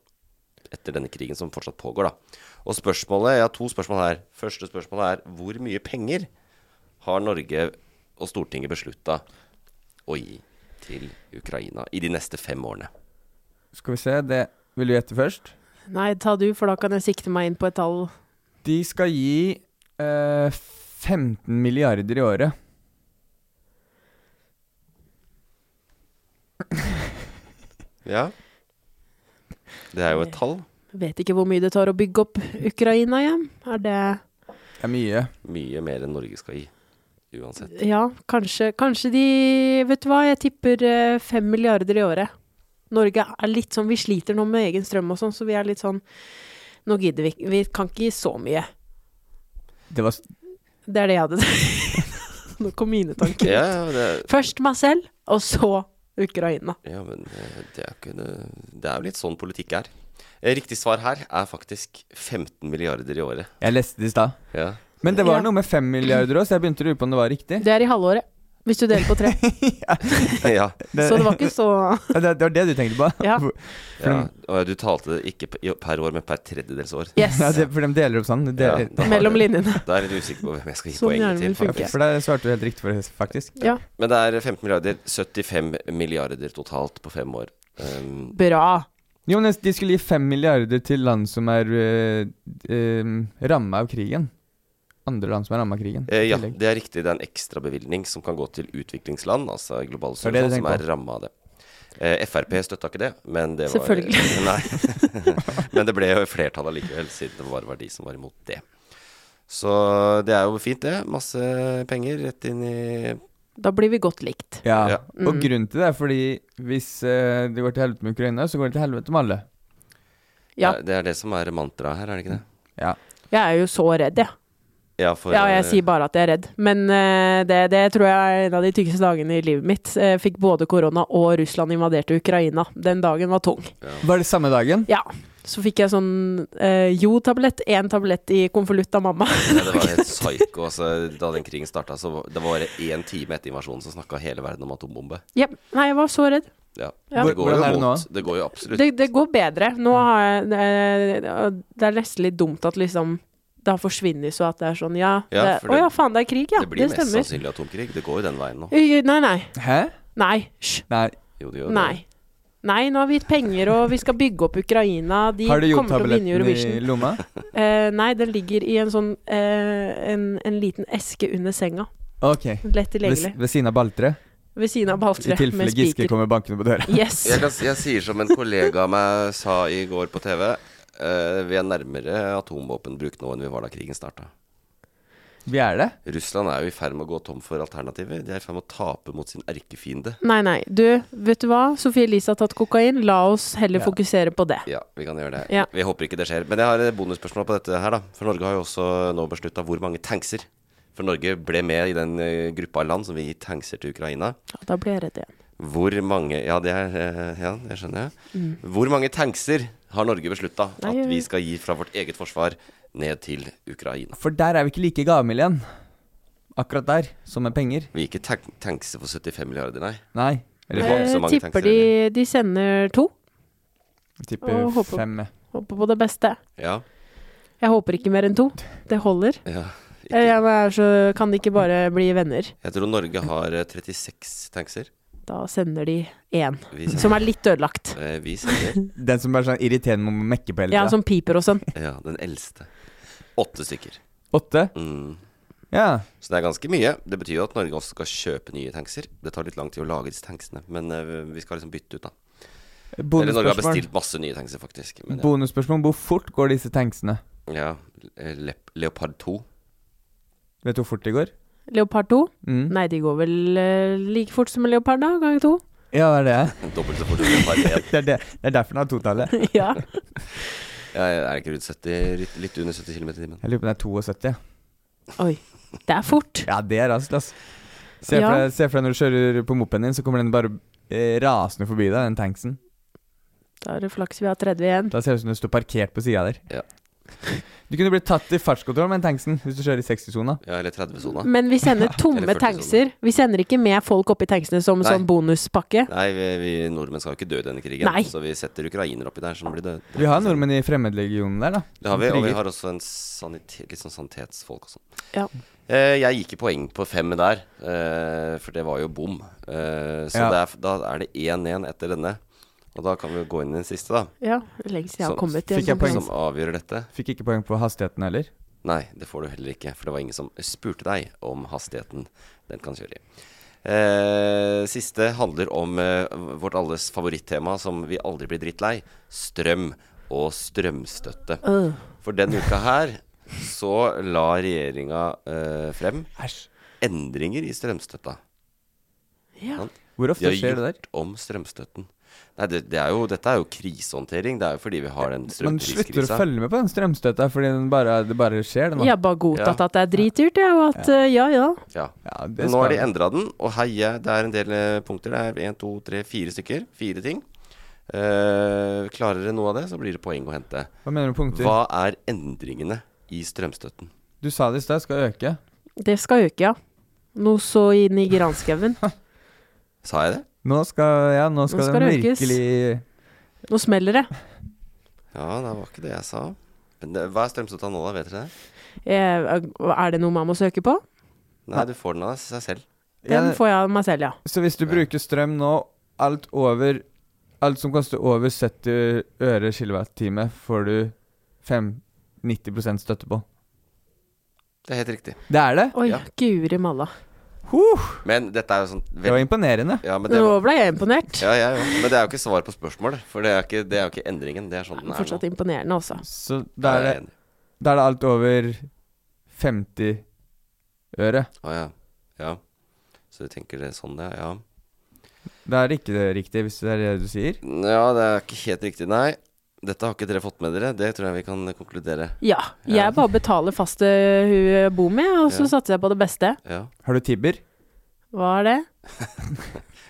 Speaker 1: Etter denne krigen som fortsatt pågår, da. Og spørsmålet, jeg har to spørsmål her. Første spørsmålet er hvor mye penger har Norge og Stortinget beslutta å gi til Ukraina i de neste fem årene.
Speaker 2: Skal vi se, det Vil du gjette først?
Speaker 3: Nei, ta du, for da kan jeg sikte meg inn på et tall.
Speaker 2: De skal gi eh, 15 milliarder i året.
Speaker 1: Ja. Det er jo et tall.
Speaker 3: Jeg Vet ikke hvor mye det tar å bygge opp Ukraina igjen. Er det
Speaker 2: Det er mye.
Speaker 1: Mye mer enn Norge skal gi. Uansett.
Speaker 3: Ja, kanskje, kanskje de Vet du hva, jeg tipper eh, fem milliarder i året. Norge er litt sånn Vi sliter nå med egen strøm og sånn, så vi er litt sånn Nå gidder vi ikke. Vi kan ikke gi så mye.
Speaker 2: Det var s-
Speaker 3: Det er det jeg hadde Nå kom mine tanker.
Speaker 1: Ja, ja, det, er-
Speaker 3: Først meg selv, og så Ukraina.
Speaker 1: ja men eh, det er, ikke, det det er jo litt sånn politikk er. Eh, Riktig svar her er faktisk 15 milliarder i året.
Speaker 2: Jeg leste det i stad.
Speaker 1: Ja.
Speaker 2: Men det var
Speaker 3: Ja.
Speaker 2: noe med 5 milliarder òg, så jeg begynte å lure på om det var riktig.
Speaker 3: Det er i halvåret, hvis du deler på tre.
Speaker 1: ja.
Speaker 2: Det,
Speaker 3: Så det var ikke så
Speaker 2: Ja, det, det var det du tenkte på?
Speaker 3: Ja.
Speaker 2: For,
Speaker 1: ja. Og du talte det ikke p- per år, men per tredjedels år.
Speaker 3: Yes.
Speaker 2: ja, det, for de deler opp sånn. De deler,
Speaker 1: Ja, da har
Speaker 3: Mellom
Speaker 1: du-
Speaker 3: linjene.
Speaker 1: Da er jeg litt usikker på hvem jeg skal gi
Speaker 3: Sånn hjernen
Speaker 1: poenget
Speaker 3: min
Speaker 1: til.
Speaker 3: funker.
Speaker 1: faktisk.
Speaker 2: For der svarte du helt riktig, for, faktisk.
Speaker 3: Ja.
Speaker 1: Men det er 15 milliarder. 75 milliarder totalt på fem år. Um,
Speaker 3: Bra.
Speaker 2: Jo, men de skulle gi 5 milliarder til land som er øh, ramma av krigen. Andre land som er ramma av krigen.
Speaker 1: Eh,
Speaker 2: i
Speaker 1: ja,
Speaker 2: tillegg.
Speaker 1: det er riktig. Det er en ekstrabevilgning som kan gå til utviklingsland, altså globale
Speaker 2: Det var det
Speaker 1: sør,
Speaker 2: du
Speaker 1: som
Speaker 2: tenkte
Speaker 1: er ramma av det. Eh, Frp støtta ikke det, men det var
Speaker 3: Selvfølgelig.
Speaker 1: Nei. men det ble jo flertall allikevel, siden det bare var de som var imot det. Så det er jo fint, det. Masse penger rett inn i
Speaker 3: Da blir vi godt likt.
Speaker 2: Ja.
Speaker 1: Ja.
Speaker 3: Mm.
Speaker 2: Og grunnen til det er fordi hvis eh, det går til helvete med Ukraina, så går det til helvete med alle.
Speaker 3: Ja.
Speaker 1: Det er det som er mantraet her, er det ikke det?
Speaker 2: Ja.
Speaker 3: Jeg er jo så redd, jeg.
Speaker 1: Ja, for,
Speaker 3: Ja, jeg
Speaker 1: eh,
Speaker 3: sier bare at jeg er redd. Men eh, det, det tror jeg er en av de tykkeste dagene i livet mitt. Eh, Jeg fikk både korona og Russland invaderte Ukraina. Den dagen var tung.
Speaker 2: Var det samme dagen?
Speaker 3: Ja. Så fikk jeg sånn eh, jo-tablett, én tablett i konvolutt av mamma.
Speaker 1: Ja, det var helt psyko. Altså, da den krigen starta, så var- det var bare én time etter invasjonen så snakka hele verden om atombombe.
Speaker 3: Ja. Nei, jeg var så redd.
Speaker 1: Ja.
Speaker 3: Ja.
Speaker 1: Det går
Speaker 2: Hvordan er
Speaker 1: jo
Speaker 2: det nå?
Speaker 1: mot Det går jo absolutt
Speaker 3: Det, det går bedre. Nå har jeg eh, Det er nesten litt dumt at liksom det har forsvunnet så at det er sånn ja,
Speaker 1: Ja,
Speaker 3: det,
Speaker 1: for
Speaker 3: Å
Speaker 1: det-
Speaker 3: ja, faen, det er krig, ja.
Speaker 1: Det blir
Speaker 3: Det,
Speaker 1: mest
Speaker 3: stemmer.
Speaker 1: sannsynlig atomkrig. Det går jo den veien nå.
Speaker 3: Øy, Nei, nei.
Speaker 2: Hæ?
Speaker 3: Nei. Hysj.
Speaker 2: Nei.
Speaker 1: Jo, det gjør det.
Speaker 3: Nei. Nei, nå har vi gitt penger, og vi skal bygge opp Ukraina. De
Speaker 2: Har du gjort
Speaker 3: kommer til å vinne
Speaker 2: tabletten i
Speaker 3: Eurovision.
Speaker 2: lomma?
Speaker 3: Eh, nei, den ligger i en sånn eh, en, en liten eske under senga.
Speaker 2: Ok.
Speaker 3: Lett
Speaker 2: Ved,
Speaker 3: tilgjengelig.
Speaker 2: ved siden av balltreet?
Speaker 3: Ved siden av
Speaker 2: I
Speaker 3: balltreet
Speaker 2: tilfelle
Speaker 3: med
Speaker 2: Giske
Speaker 3: spiker.
Speaker 2: kommer bankende på døra.
Speaker 3: Yes.
Speaker 1: Jeg, kan, s- jeg sier som en kollega av meg sa i går på TV. eh, vi er nærmere atomvåpenbruk nå enn vi var da krigen starta.
Speaker 2: Vi er det.
Speaker 1: Russland er jo i ferd med å gå tom for alternativer. De er i ferd med å tape mot sin erkefiende.
Speaker 3: Nei, nei. Du, vet du hva? Sofie Elise har tatt kokain. La oss heller
Speaker 2: Ja.
Speaker 3: fokusere på det.
Speaker 1: Ja, vi kan gjøre det.
Speaker 3: Ja.
Speaker 1: Vi håper ikke det skjer. Men jeg har et bonusspørsmål på dette her, da. For Norge har jo også nå beslutta hvor mange tankser. For Norge ble med i den eh, gruppa land som vil gi tankser til Ukraina.
Speaker 3: Ja, Da blir jeg redd igjen.
Speaker 1: Hvor mange Ja, det er eh, Ja, det skjønner jeg. Hvor mange tankser har Norge beslutta at
Speaker 3: Mm. Nei,
Speaker 1: vi skal gi fra vårt eget forsvar ned til Ukraina?
Speaker 2: For der er vi ikke like gavmilde igjen. Akkurat der, som med penger.
Speaker 1: Vi gir ikke tank tankser for 75 milliarder, nei.
Speaker 2: Nei. Eller
Speaker 1: var
Speaker 3: Eh,
Speaker 1: så mange tankser,
Speaker 3: tipper de, de sender to.
Speaker 2: jeg tipper
Speaker 3: Å, håper-
Speaker 2: fem. jeg.
Speaker 3: Håper på det beste.
Speaker 1: Ja.
Speaker 3: Jeg håper ikke mer enn to. Det holder.
Speaker 1: ja. Ikke.
Speaker 3: Eh, Jeg er så, kan de ikke bare bli venner.
Speaker 1: Jeg tror Norge har eh, 36 tankser.
Speaker 3: Da sender de én.
Speaker 1: Vi sender,
Speaker 3: Som er litt ødelagt.
Speaker 1: eh, vi sender
Speaker 2: Den som er sånn irriterende må mekke på hele
Speaker 3: Ja,
Speaker 2: tida.
Speaker 3: som piper og sånn.
Speaker 1: Ja, den eldste. Åtte stykker.
Speaker 2: Åtte?
Speaker 1: Mm.
Speaker 2: Ja.
Speaker 1: Så det er ganske mye. Det betyr jo at Norge også skal kjøpe nye tankser. Det tar litt lang tid å lage disse tanksene, men eh, vi skal liksom bytte ut, da. Eller Norge har
Speaker 2: Bonusspørsmål.
Speaker 1: bestilt masse nye tankser, faktisk. Men, eh, ja.
Speaker 2: Bonusspørsmål. Hvor fort går disse tanksene?
Speaker 1: ja. eh, Lep Leopard 2.
Speaker 2: Vet du hvor fort de går?
Speaker 3: Leopard 2?
Speaker 2: Mm.
Speaker 3: Nei, de går vel eh, like fort som en leopard, da? Ganger to?
Speaker 2: Ja, det er det.
Speaker 1: Dobbelt så fort som Leopard 1.
Speaker 2: Det er, det. Det er derfor den har totallet.
Speaker 3: ja.
Speaker 1: Ja, jeg er ikke rundt 70, litt- litt under 70 km i timen.
Speaker 2: Jeg lurer på om det er 72. ja.
Speaker 3: Oi. Det er fort.
Speaker 2: Ja, det er raskt, ass. Se
Speaker 3: Ja.
Speaker 2: for, deg, se for deg når du kjører på mopeden din, så kommer den bare eh, rasende forbi deg, den tanksen.
Speaker 3: Da er det flaks vi har 30 igjen.
Speaker 2: Da ser det ut som du står parkert på sida der.
Speaker 1: Ja.
Speaker 2: Du kunne blitt tatt i fartskontroll med den tanksen hvis du kjører i 60-sona.
Speaker 1: Ja, eller 30-sona.
Speaker 3: Men vi sender
Speaker 1: Eller
Speaker 3: tomme
Speaker 1: 40
Speaker 3: tankser. Vi sender ikke med folk oppi tanksene som
Speaker 1: Nei.
Speaker 3: sånn bonuspakke.
Speaker 1: Nei, vi, vi nordmenn skal jo ikke dø i denne krigen,
Speaker 3: Nei.
Speaker 1: så vi setter ukrainere oppi der som blir døde.
Speaker 2: Vi har nordmenn i fremmedlegionen der, da.
Speaker 1: Det har vi,
Speaker 2: Som
Speaker 1: og vi
Speaker 2: kriger.
Speaker 1: har også en sanite- litt sånn sanitetsfolk og sånn.
Speaker 3: Ja.
Speaker 1: Eh, jeg gikk i poeng på fem der, eh, for det var jo bom. Eh, så
Speaker 2: Ja.
Speaker 1: det er, da er det 1-1 etter denne. Og da kan vi jo gå inn i den siste, da.
Speaker 3: Ja, lengst jeg har
Speaker 1: Sånn,
Speaker 3: kommet i en
Speaker 2: fikk jeg
Speaker 3: sånn
Speaker 2: poeng.
Speaker 3: plass.
Speaker 1: Som avgjør dette.
Speaker 2: Fikk ikke poeng på hastigheten heller.
Speaker 1: Nei, det får du heller ikke, for det var ingen som spurte deg om hastigheten den kan kjøre i. Eh, siste handler om eh, vårt alles favorittema som vi aldri blir drittlei. Strøm og strømstøtte. For den uka her så la regjeringa eh, frem
Speaker 2: Æsj.
Speaker 1: endringer i strømstøtta.
Speaker 3: Ja.
Speaker 2: Hvor
Speaker 1: De
Speaker 2: ofte
Speaker 1: har
Speaker 2: skjer det der?
Speaker 1: gjort om strømstøtten. Nei, det, det er jo, dette er jo krisehåndtering. Det er jo fordi vi har den
Speaker 2: Man slutter å
Speaker 1: strømpriskrisa.
Speaker 2: følge med på den strømstøtta fordi den bare, det bare skjer, det nå.
Speaker 3: Jeg har bare godtatt at det er dritdyrt, jeg, og at eh, ja ja.
Speaker 1: Ja.
Speaker 2: Ja, det
Speaker 1: Men nå har de
Speaker 2: skal-
Speaker 1: endra den, og heie, det er en del eh, punkter. Det er én, to, tre, fire stykker. Fire ting. Eh, klarer dere noe av det, så blir det poeng å hente.
Speaker 2: Hva mener du med punkter?
Speaker 1: Hva er endringene i strømstøtten?
Speaker 2: Du sa det i stad, skal øke.
Speaker 3: Det skal øke, ja. Noe så inn i granskauen.
Speaker 1: Sa jeg det?
Speaker 2: Nå skal, ja, nå skal,
Speaker 3: skal
Speaker 2: den
Speaker 3: det økes.
Speaker 2: virkelig
Speaker 3: Nå smeller det.
Speaker 1: Ja, det var ikke det jeg sa. Men det, hva er strømstøtta nå, da? Vet dere det?
Speaker 3: Eh, Er det noe man må søke på?
Speaker 1: Nei, du får den av seg selv.
Speaker 3: Den
Speaker 2: Ja,
Speaker 3: får jeg av meg selv, ja.
Speaker 2: Så hvis du bruker strøm nå, alt over Alt som koster over 70 øre kilowattime, får du 5 90 støtte på.
Speaker 1: Det er helt riktig.
Speaker 2: Det er det!
Speaker 3: Oi,
Speaker 1: Ja.
Speaker 3: guri malla.
Speaker 2: Huh!
Speaker 1: Men dette er jo sånn
Speaker 2: Det var imponerende.
Speaker 1: ja, men det
Speaker 3: Nå
Speaker 1: var,
Speaker 3: ble jeg imponert.
Speaker 1: ja, jeg òg. Men det er jo ikke svar på spørsmålet. For det er, ikke, det er jo ikke endringen. Det er sånn den er nå.
Speaker 3: Fortsatt imponerende, altså.
Speaker 2: Så
Speaker 1: Ja,
Speaker 2: da
Speaker 1: jeg
Speaker 2: er det,
Speaker 1: er enig.
Speaker 2: da er det alt over 50 øre.
Speaker 1: Å ja. ja. Så du tenker det sånn, ja. ja.
Speaker 2: Da er det ikke det riktig, hvis det er det du sier.
Speaker 1: Ja, det er ikke helt riktig, nei. Dette har ikke dere fått med dere. Det tror jeg vi kan konkludere.
Speaker 3: Ja.
Speaker 1: Ja.
Speaker 3: Jeg bare betaler fast det hun bor med, og så
Speaker 1: Ja.
Speaker 3: satser jeg på det beste.
Speaker 1: Ja.
Speaker 2: Har du Tibber?
Speaker 3: Hva er det?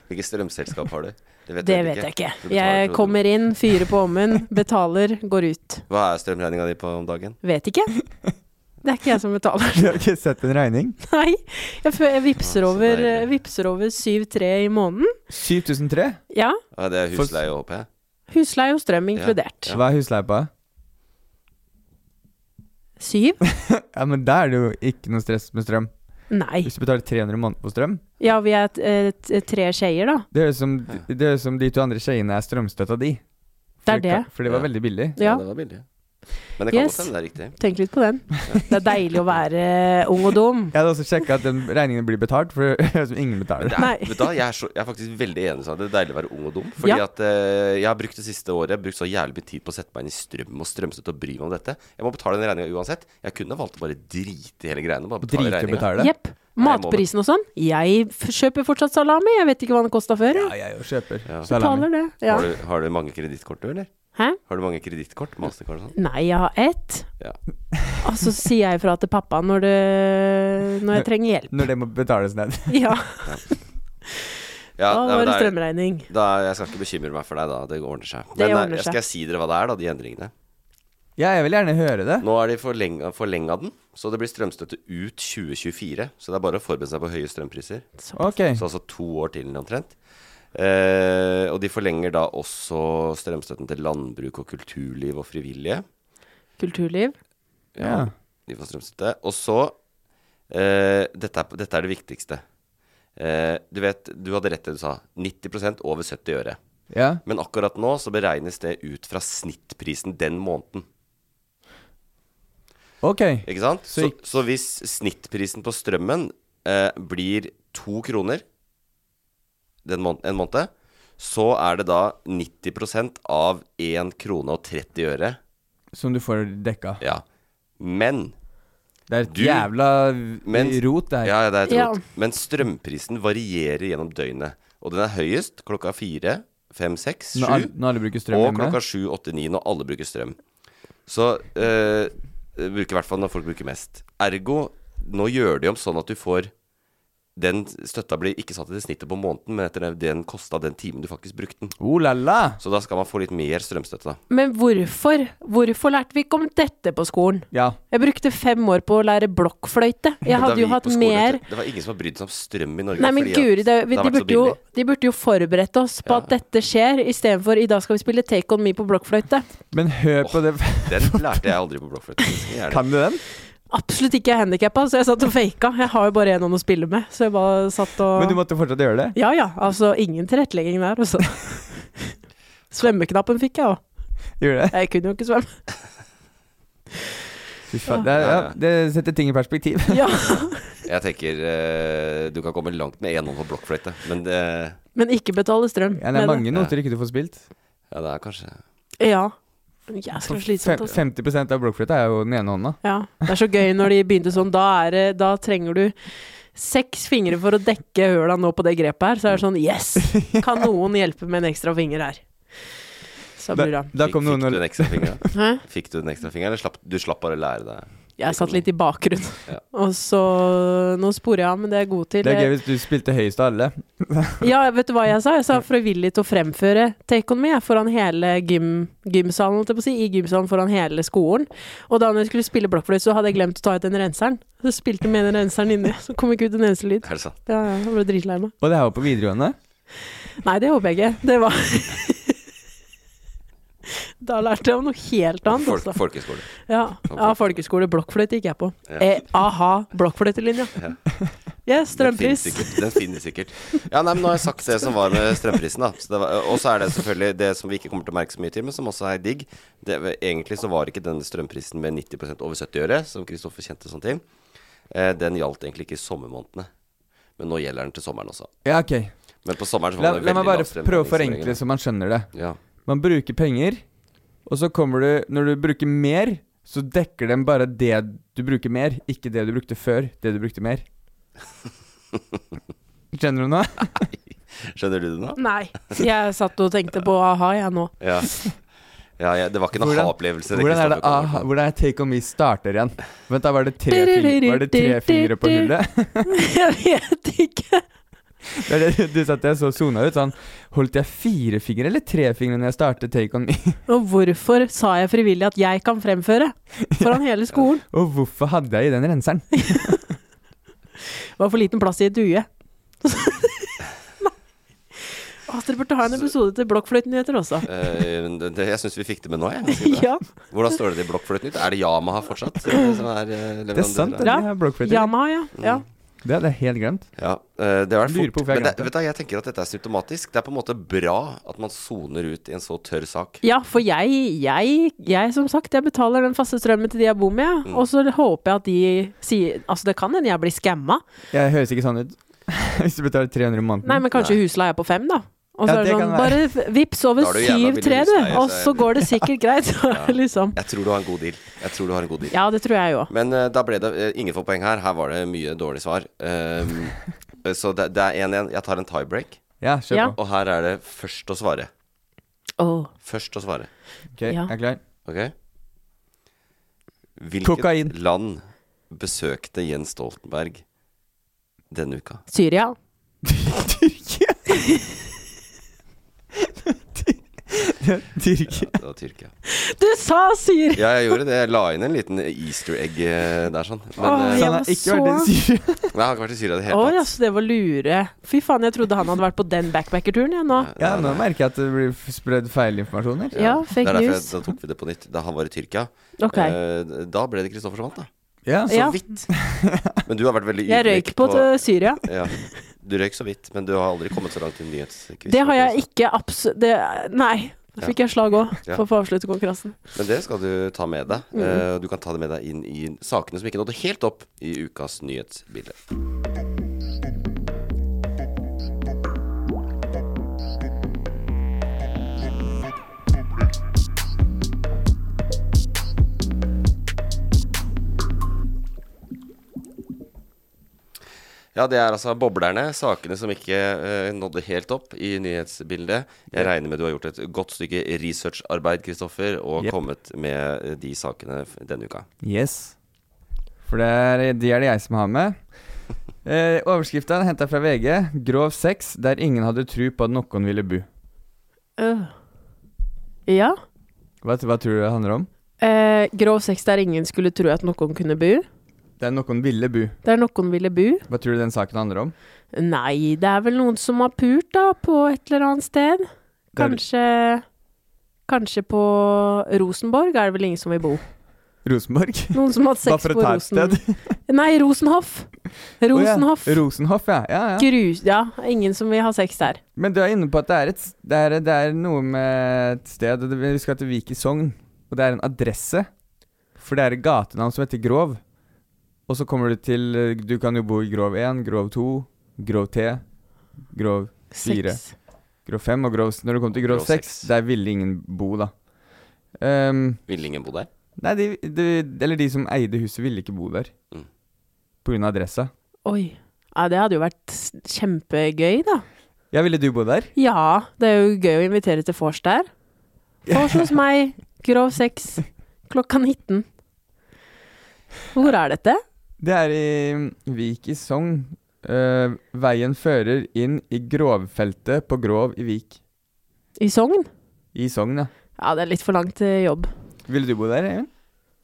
Speaker 1: Hvilket strømselskap har du? Det vet,
Speaker 3: Det
Speaker 1: dere
Speaker 3: vet jeg ikke.
Speaker 1: Du betaler
Speaker 3: Jeg
Speaker 1: for-
Speaker 3: kommer inn, fyrer på ovnen, betaler, går ut.
Speaker 1: Hva er strømregninga di på om dagen?
Speaker 3: Vet ikke. Det er ikke jeg som betaler.
Speaker 2: Du har ikke sett en regning?
Speaker 3: Nei. Jeg, fø- jeg vipser
Speaker 1: Å, så
Speaker 3: over, eh,
Speaker 1: deilig.
Speaker 3: vipser over 7-3 i måneden.
Speaker 2: 7003?
Speaker 3: Ja.
Speaker 1: Ja, det er
Speaker 2: For-
Speaker 1: husleie, håper jeg.
Speaker 3: Husleie og strøm
Speaker 1: Ja.
Speaker 3: inkludert.
Speaker 2: Hva er husleie på?
Speaker 3: Syv?
Speaker 2: Ja, men da er det jo ikke noe stress med strøm.
Speaker 3: Nei.
Speaker 2: Hvis du betaler 300 i måneden på strøm
Speaker 3: Ja, vi er eh, t- tre skeier, da.
Speaker 2: Det høres som, det høres som de to andre skeiene er strømstøtta di.
Speaker 3: Det er
Speaker 2: For ka-
Speaker 3: det.
Speaker 2: For det var
Speaker 1: Ja.
Speaker 2: veldig billig.
Speaker 3: Ja.
Speaker 1: det var billig. Men det kan
Speaker 3: Yes.
Speaker 1: godt hende det er riktig.
Speaker 3: Tenk litt på den. Det er deilig å være eh, ung og dum.
Speaker 2: Jeg hadde også sjekka at den regningen blir betalt, for det høres ut som ingen
Speaker 1: Men
Speaker 2: betaler.
Speaker 1: det er,
Speaker 3: Nei.
Speaker 1: vet du, hva, jeg, er så, jeg er faktisk veldig enig med deg. Det er deilig å være ung og dum. Fordi
Speaker 3: Ja.
Speaker 1: at eh, jeg har brukt det siste året Jeg har brukt så jævlig mye tid på å sette meg inn i strøm og strømstøtte og bry meg om dette. Jeg må betale den regninga uansett. Jeg kunne valgt å bare drite i hele greiene. Bare betale
Speaker 2: Drite i å
Speaker 1: regninga.
Speaker 2: betale.
Speaker 3: Jepp. Matprisen og sånn. Jeg f kjøper fortsatt salami, jeg vet ikke hva den kosta før.
Speaker 2: Ja,
Speaker 3: jeg.
Speaker 2: jeg jo kjøper
Speaker 1: Ja.
Speaker 2: salami.
Speaker 3: Betaler det. Ja.
Speaker 1: Har, du, har du mange kredittkort, du, eller?
Speaker 3: Hæ?
Speaker 1: Har du mange kredittkort? Mastercard og sånn?
Speaker 3: Nei, jeg har ett.
Speaker 1: Ja.
Speaker 3: Og så sier jeg ifra til pappa når, det, når jeg trenger hjelp.
Speaker 2: Når det må betales ned.
Speaker 3: Ja,
Speaker 1: Ja,
Speaker 3: da
Speaker 1: nei, men
Speaker 3: var det
Speaker 1: det er-
Speaker 3: strømregning.
Speaker 1: Da, jeg skal ikke bekymre meg for deg, da. Det ordner seg.
Speaker 3: Det
Speaker 1: Men, eh,
Speaker 3: ordner
Speaker 1: jeg
Speaker 3: seg.
Speaker 1: skal jeg si dere hva det er, da, de endringene.
Speaker 2: Ja, jeg vil gjerne høre det.
Speaker 1: Nå er de forlenga, forlenga den, så det blir strømstøtte ut 2024. Så det er bare å forberede seg på høye strømpriser.
Speaker 2: Ok.
Speaker 3: Mm.
Speaker 1: Så altså to år til omtrent. Eh, og de forlenger da også strømstøtten til landbruk og kulturliv og frivillige.
Speaker 3: Kulturliv.
Speaker 2: Ja.
Speaker 1: De får strømstøtte. Og så eh, dette, er, dette er det viktigste. Eh, du vet, du hadde rett det du sa. 90 over 70 øre.
Speaker 2: Ja.
Speaker 1: Men akkurat nå så beregnes det ut fra snittprisen den måneden.
Speaker 2: Ok.
Speaker 1: Ikke sant?
Speaker 2: Så
Speaker 1: Så,
Speaker 2: ikk-
Speaker 1: så hvis snittprisen på strømmen eh, blir to kroner den mån en måned, så er det da 90 av 1 krone og 30 øre.
Speaker 2: Som du får dekka.
Speaker 1: Ja. Men
Speaker 2: Det er et
Speaker 1: Du-
Speaker 2: jævla
Speaker 1: Men-
Speaker 2: rot, det her.
Speaker 1: Ja, ja, det er et
Speaker 3: Ja.
Speaker 1: rot. Men strømprisen varierer gjennom døgnet. Og den er høyest klokka fire, fem, seks,
Speaker 2: når, alle,
Speaker 1: sju.
Speaker 2: når alle bruker strøm
Speaker 1: Og
Speaker 2: hjemme.
Speaker 1: klokka sju, åtte, ni når alle bruker strøm. Så eh, bruker i hvert fall når folk bruker mest. Ergo, nå gjør de om sånn at du får Den støtta blir ikke satt etter snittet på måneden, men etter det den kosta den timen du faktisk brukte den.
Speaker 2: Oh la la!
Speaker 1: Så da skal man få litt mer strømstøtte, da.
Speaker 3: Men hvorfor? Hvorfor lærte vi ikke om dette på skolen?
Speaker 2: Ja.
Speaker 3: Jeg brukte fem år på å lære blokkfløyte. Jeg
Speaker 1: Da
Speaker 3: hadde
Speaker 1: vi
Speaker 3: jo
Speaker 1: gikk
Speaker 3: hatt
Speaker 1: på skolen,
Speaker 3: mer
Speaker 1: vet du, Det var ingen som har brydd seg om strøm i Norge.
Speaker 3: Nei, men
Speaker 1: fordi at
Speaker 3: guri, det, vi,
Speaker 1: har
Speaker 3: de,
Speaker 1: vært så
Speaker 3: burde jo,
Speaker 1: billig.
Speaker 3: de burde jo forberedt oss på at dette skjer, istedenfor i dag skal vi spille Take On Me på blokkfløyte.
Speaker 2: Men hør på det
Speaker 1: Den lærte jeg aldri på Blokkfløyte. det skal jeg gjerne-
Speaker 2: Kan du den?
Speaker 3: Absolutt ikke handikappa, så jeg satt og faka. Jeg har jo bare én hånd å spille med, så jeg bare satt og
Speaker 2: Men du måtte fortsatt gjøre det?
Speaker 3: Ja ja, altså ingen tilrettelegging der, altså. Svømmeknappen fikk jeg òg.
Speaker 2: Gjorde det?
Speaker 3: Jeg kunne jo ikke svømme.
Speaker 2: Fy faen. Det, er- ja, det setter ting i perspektiv.
Speaker 3: Ja.
Speaker 1: Jeg tenker eh, du kan komme langt med én hånd på blokkfløyte, men eh, det
Speaker 3: Men ikke betale strøm.
Speaker 2: Ja, det er
Speaker 3: med
Speaker 2: mange noter ikke du får spilt.
Speaker 1: Ja, det er kanskje
Speaker 3: det. Ja. Jeg skal slitsomt,
Speaker 2: Fem-
Speaker 3: altså.
Speaker 2: 50 av blokkfløyta er jo den ene hånda.
Speaker 3: Ja. Det er så gøy når de begynte sånn. Da, er, det- da trenger du seks fingre for å dekke høla nå på det grepet her. Så er det sånn Yes! Kan noen hjelpe med en ekstra finger her? Så blir det
Speaker 2: Da,
Speaker 3: bra.
Speaker 2: da
Speaker 1: Fikk-
Speaker 2: kom noen
Speaker 1: Fikk du
Speaker 2: og
Speaker 1: en ekstra finger? da?
Speaker 3: Hæ?
Speaker 1: Fikk du den ekstra fingeren, eller slapp, du slapp bare å lære deg?
Speaker 3: Jeg satt litt i bakgrunnen.
Speaker 1: Ja.
Speaker 3: Og så Nå sporer jeg av, men det er jeg god til.
Speaker 2: Det er gøy hvis du spilte høyest av alle.
Speaker 3: Ja, vet du hva jeg sa? Jeg sa frivillig til å fremføre Take On Me jeg, foran hele gym, gymsalen, holdt jeg på å si, i gymsalen foran hele skolen. Og da når jeg skulle spille blokkfløyte, så hadde jeg glemt å ta ut den renseren. Så spilte jeg med den renseren inni, så kom ikke ut en eneste lyd.
Speaker 1: Er det sant?
Speaker 3: Ja, ja, jeg ble dritlei meg.
Speaker 2: Og det her var på videregående.
Speaker 3: Nei, det håper jeg ikke. Det var Da lærte jeg om noe helt annet,
Speaker 1: Folk,
Speaker 3: altså.
Speaker 1: folkeskole.
Speaker 3: Ja, ja folkeskole. Blokkfløyte gikk jeg på. Eh, aha, blokkfløytelinja.
Speaker 1: Den finnes
Speaker 3: Yes, strømpris.
Speaker 1: sikkert. Den finnes sikkert. Ja, nei, men nå har jeg sagt det som var med strømprisen, da. Så det var- Og så er det selvfølgelig det som vi ikke kommer til å merke så mye til, men som også er digg. Det, egentlig så var ikke den strømprisen med 90 over 70 øre, som Kristoffer kjente sånn til. Eh, den gjaldt egentlig ikke i sommermånedene. Men nå gjelder den til sommeren også.
Speaker 2: Ja, ok.
Speaker 1: Men på sommeren så
Speaker 2: La,
Speaker 1: var det
Speaker 2: la meg
Speaker 1: veldig
Speaker 2: bare
Speaker 1: lav strøm-
Speaker 2: prøve å forenkle så man skjønner det.
Speaker 1: Ja.
Speaker 2: Man bruker penger, og så kommer du Når du bruker mer, så dekker den bare det Du bruker mer, ikke det du brukte før, det du brukte mer. Skjønner du nå?
Speaker 1: Skjønner du det nå?
Speaker 3: Nei. Jeg satt og tenkte på aha, jeg nå.
Speaker 1: Ja. Ja, ja, det var ikke en
Speaker 2: Hvordan-
Speaker 1: aha-opplevelse.
Speaker 2: Hvordan er det
Speaker 1: Kristoffer
Speaker 2: aha,
Speaker 1: kom med.
Speaker 2: hvordan er Take On Me starter igjen? Vent, da var det tre, fing- var det tre fingre på hullet?
Speaker 3: Jeg vet ikke.
Speaker 2: Det er det du satt der så sona ut. Sånn, holdt jeg fire fingre eller tre fingre når jeg startet Take On Me?
Speaker 3: Og hvorfor sa jeg frivillig at jeg kan fremføre foran hele skolen?
Speaker 2: Og hvorfor hadde jeg i den renseren?
Speaker 3: Det var for liten plass i et due. Nei. Å, dere burde ha en episode til Blokkfløytenyheter også.
Speaker 1: Eh, det- det- jeg syns vi fikk det med nå, jeg. Ganske bra.
Speaker 3: Ja.
Speaker 1: Hvordan står det til Blokkfløytenytt? Er det Yamaha fortsatt? eh, Som er, eh,
Speaker 2: Det er sant.
Speaker 1: leverandør
Speaker 2: at
Speaker 1: der?
Speaker 3: Ja.
Speaker 2: vi har blokkfløyte.
Speaker 3: Jana, ja. ja.
Speaker 2: Det hadde jeg helt glemt.
Speaker 1: Ja, eh, det har vært
Speaker 2: Lurer
Speaker 1: fort.
Speaker 2: på hvorfor jeg
Speaker 1: Men det,
Speaker 2: glemte det.
Speaker 1: vet du, hva, jeg tenker at dette er symptomatisk. Det er på en måte bra at man soner ut i en så tørr sak.
Speaker 3: Ja, for jeg, jeg, jeg som sagt, jeg betaler den faste strømmen til de jeg bor med,
Speaker 1: Mm.
Speaker 3: og så håper jeg at de sier Altså, det kan hende jeg blir skamma.
Speaker 2: Jeg høres ikke sånn ut. Hvis du betaler 300 i måneden.
Speaker 1: Mm,
Speaker 3: Nei, men kanskje husleia er på fem, da. Og så
Speaker 2: Ja,
Speaker 3: er det
Speaker 2: det
Speaker 3: sånn,
Speaker 2: kan
Speaker 3: bare
Speaker 2: være.
Speaker 3: v- vips over
Speaker 1: Da er du jævla billig
Speaker 3: 7-3, du,
Speaker 1: husleie,
Speaker 3: og
Speaker 1: så
Speaker 3: så
Speaker 1: jeg-
Speaker 3: går det sikkert greit. Så er det liksom.
Speaker 1: Jeg tror du har en god deal. Jeg tror du har en god deal.
Speaker 3: Ja, det tror jeg jo.
Speaker 1: Men eh, da ble det eh, Ingen får poeng her. Her var det mye dårlig svar. Ehm, så det, det er 1-1. Jeg tar en tiebreak.
Speaker 2: Ja, kjør
Speaker 3: Ja.
Speaker 2: på.
Speaker 1: Og her er det først å svare.
Speaker 3: Åh.
Speaker 1: Først å svare.
Speaker 2: Ok, jeg
Speaker 3: Ja.
Speaker 2: er klar.
Speaker 1: Ok? Hvilket
Speaker 2: Kokain.
Speaker 1: land besøkte Jens Stoltenberg denne uka?
Speaker 3: Syria.
Speaker 2: Tyrkia! Tyrkia.
Speaker 1: Ja, det var Tyrkia.
Speaker 3: Du sa Syria!
Speaker 1: Ja, jeg gjorde det. Jeg la inn en liten easter egg eh, der, sånn. Men
Speaker 3: Åh,
Speaker 1: eh,
Speaker 2: Så
Speaker 3: jeg
Speaker 2: han
Speaker 3: var
Speaker 2: har ikke vært i Syria?
Speaker 1: nei, jeg har ikke vært i Syria i det
Speaker 3: Å
Speaker 1: hele
Speaker 3: ja,
Speaker 1: tatt.
Speaker 3: så det var lure. Fy faen, jeg trodde han hadde vært på den backpackerturen, jeg nå.
Speaker 2: Ja, nå merker jeg at det blir f- spredd feilinformasjon her.
Speaker 3: Ja,
Speaker 1: Det
Speaker 3: fake
Speaker 1: er derfor jeg,
Speaker 3: news.
Speaker 1: da tok vi det på nytt. Da han var i Tyrkia.
Speaker 3: Ok.
Speaker 1: Eh, da ble det Kristoffer som vant, da.
Speaker 2: Ja,
Speaker 1: Så
Speaker 3: Ja.
Speaker 1: vidt. Men du har vært veldig
Speaker 3: Jeg røyk på til Syria.
Speaker 1: ja. Du røyk så vidt, men du har aldri kommet så langt i en nyhetsquiz.
Speaker 3: Det har jeg ikke abs... Det, nei. Da fikk jeg slag òg,
Speaker 1: Ja.
Speaker 3: for å få avslutte konkurransen.
Speaker 1: Men det skal du ta med deg. Eh, Du kan ta det med deg inn i sakene som ikke nådde helt opp i ukas nyhetsbilde. Ja, det er altså boblerne, sakene som ikke eh, nådde helt opp i nyhetsbildet. Jeg regner med du har gjort et godt stykke researcharbeid, Kristoffer, og
Speaker 2: Jep.
Speaker 1: kommet med eh, de sakene f- denne uka.
Speaker 2: Yes. For det er, de er det jeg som har med. Eh, Overskrifta er henta fra VG. 'Grov sex der ingen hadde tru på at noen ville bu'.
Speaker 3: Øh. Ja.
Speaker 2: Hva, hva tror du det handler om?
Speaker 3: Eh, grov sex der ingen skulle tro at noen kunne bu.
Speaker 2: Det er noen ville bu.
Speaker 3: Der noen ville bu.
Speaker 2: Hva tror du den saken handler om?
Speaker 3: Nei, det er vel noen som har pult, da, på et eller annet sted.
Speaker 2: er-
Speaker 3: Kanskje Kanskje på Rosenborg er det vel ingen som vil bo.
Speaker 2: Rosenborg?
Speaker 3: Noen som har hatt
Speaker 2: Bare
Speaker 3: sex
Speaker 2: for
Speaker 3: på
Speaker 2: å ta et
Speaker 3: Rosen...
Speaker 2: sted.
Speaker 3: Nei, Rosenhoff.
Speaker 2: Å ja,
Speaker 3: Rosenhoff.
Speaker 2: Rosenhoff, ja. ja, ja.
Speaker 3: Grus... Ja, ingen som vil ha sex der.
Speaker 2: Men du er inne på at det er, et, s- det er, det er noe med et sted og det, Vi skal til Vik i Sogn, og det er en adresse. For det er et gatenavn som heter Grov. Og så kommer du til eh, Du kan jo bo i Grov 1, Grov 2, Grov T, Grov Fire.
Speaker 3: Sex.
Speaker 2: Grov 5 og grov s- Når du kommer til grov
Speaker 1: Grov
Speaker 2: 6,
Speaker 1: seks.
Speaker 2: der ville ingen bo, da. Ehm,
Speaker 1: Ville ingen bo der?
Speaker 2: nei, de, de, eller de som eide huset, ville ikke bo der.
Speaker 1: Mm.
Speaker 2: På grunn av adressa.
Speaker 3: Oi. Ja, det hadde jo vært s- kjempegøy, da.
Speaker 2: Ja, ville du bo der?
Speaker 3: Ja, det er jo gøy å invitere til vors der. Vors hos meg, grov sex, klokka 19. Hvor er dette?
Speaker 2: Det er i mm, Vik i Sogn. Eh, veien fører inn i Grovfeltet på Grov i Vik.
Speaker 3: I Sogn?
Speaker 2: I Sogn, ja.
Speaker 3: Ja, det er litt for langt til jobb.
Speaker 2: Ville du bo der, Even?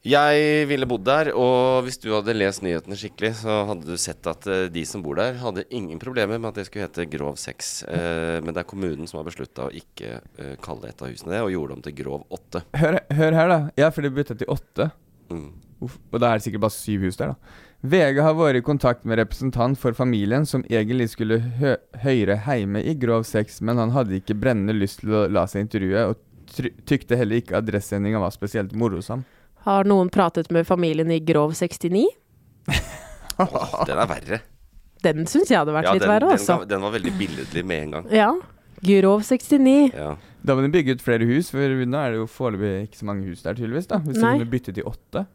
Speaker 1: Jeg ville bodd der, og hvis du hadde lest nyhetene skikkelig, så hadde du sett at eh, de som bor der, hadde ingen problemer med at det skulle hete Grov 6. Eh, men det er kommunen som har beslutta å ikke eh, kalle et av husene det, og gjorde det om til Grov 8.
Speaker 2: Hør, hør her, da. Ja, for det bytta til åtte.
Speaker 1: Mm.
Speaker 2: Uff, og da er det sikkert bare syv hus der, da. VG har vært i kontakt med representant for familien som egentlig skulle hø høre hjemme i Grov 6, men han hadde ikke brennende lyst til å la seg intervjue, og try tykte heller ikke adressesendinga var spesielt morosam.
Speaker 3: Har noen pratet med familien i grov 69?
Speaker 1: Åh, den er verre.
Speaker 3: Den syns jeg hadde vært
Speaker 1: Ja,
Speaker 3: litt
Speaker 1: den,
Speaker 3: verre,
Speaker 1: den,
Speaker 3: altså.
Speaker 1: ga- den var veldig billedlig med en gang.
Speaker 3: Ja. Grov 69.
Speaker 1: Ja.
Speaker 2: Da må de bygge ut flere hus, for nå er det jo foreløpig ikke så mange hus der, tydeligvis. da Hvis
Speaker 3: Nei.
Speaker 2: de kunne bytte til åtte.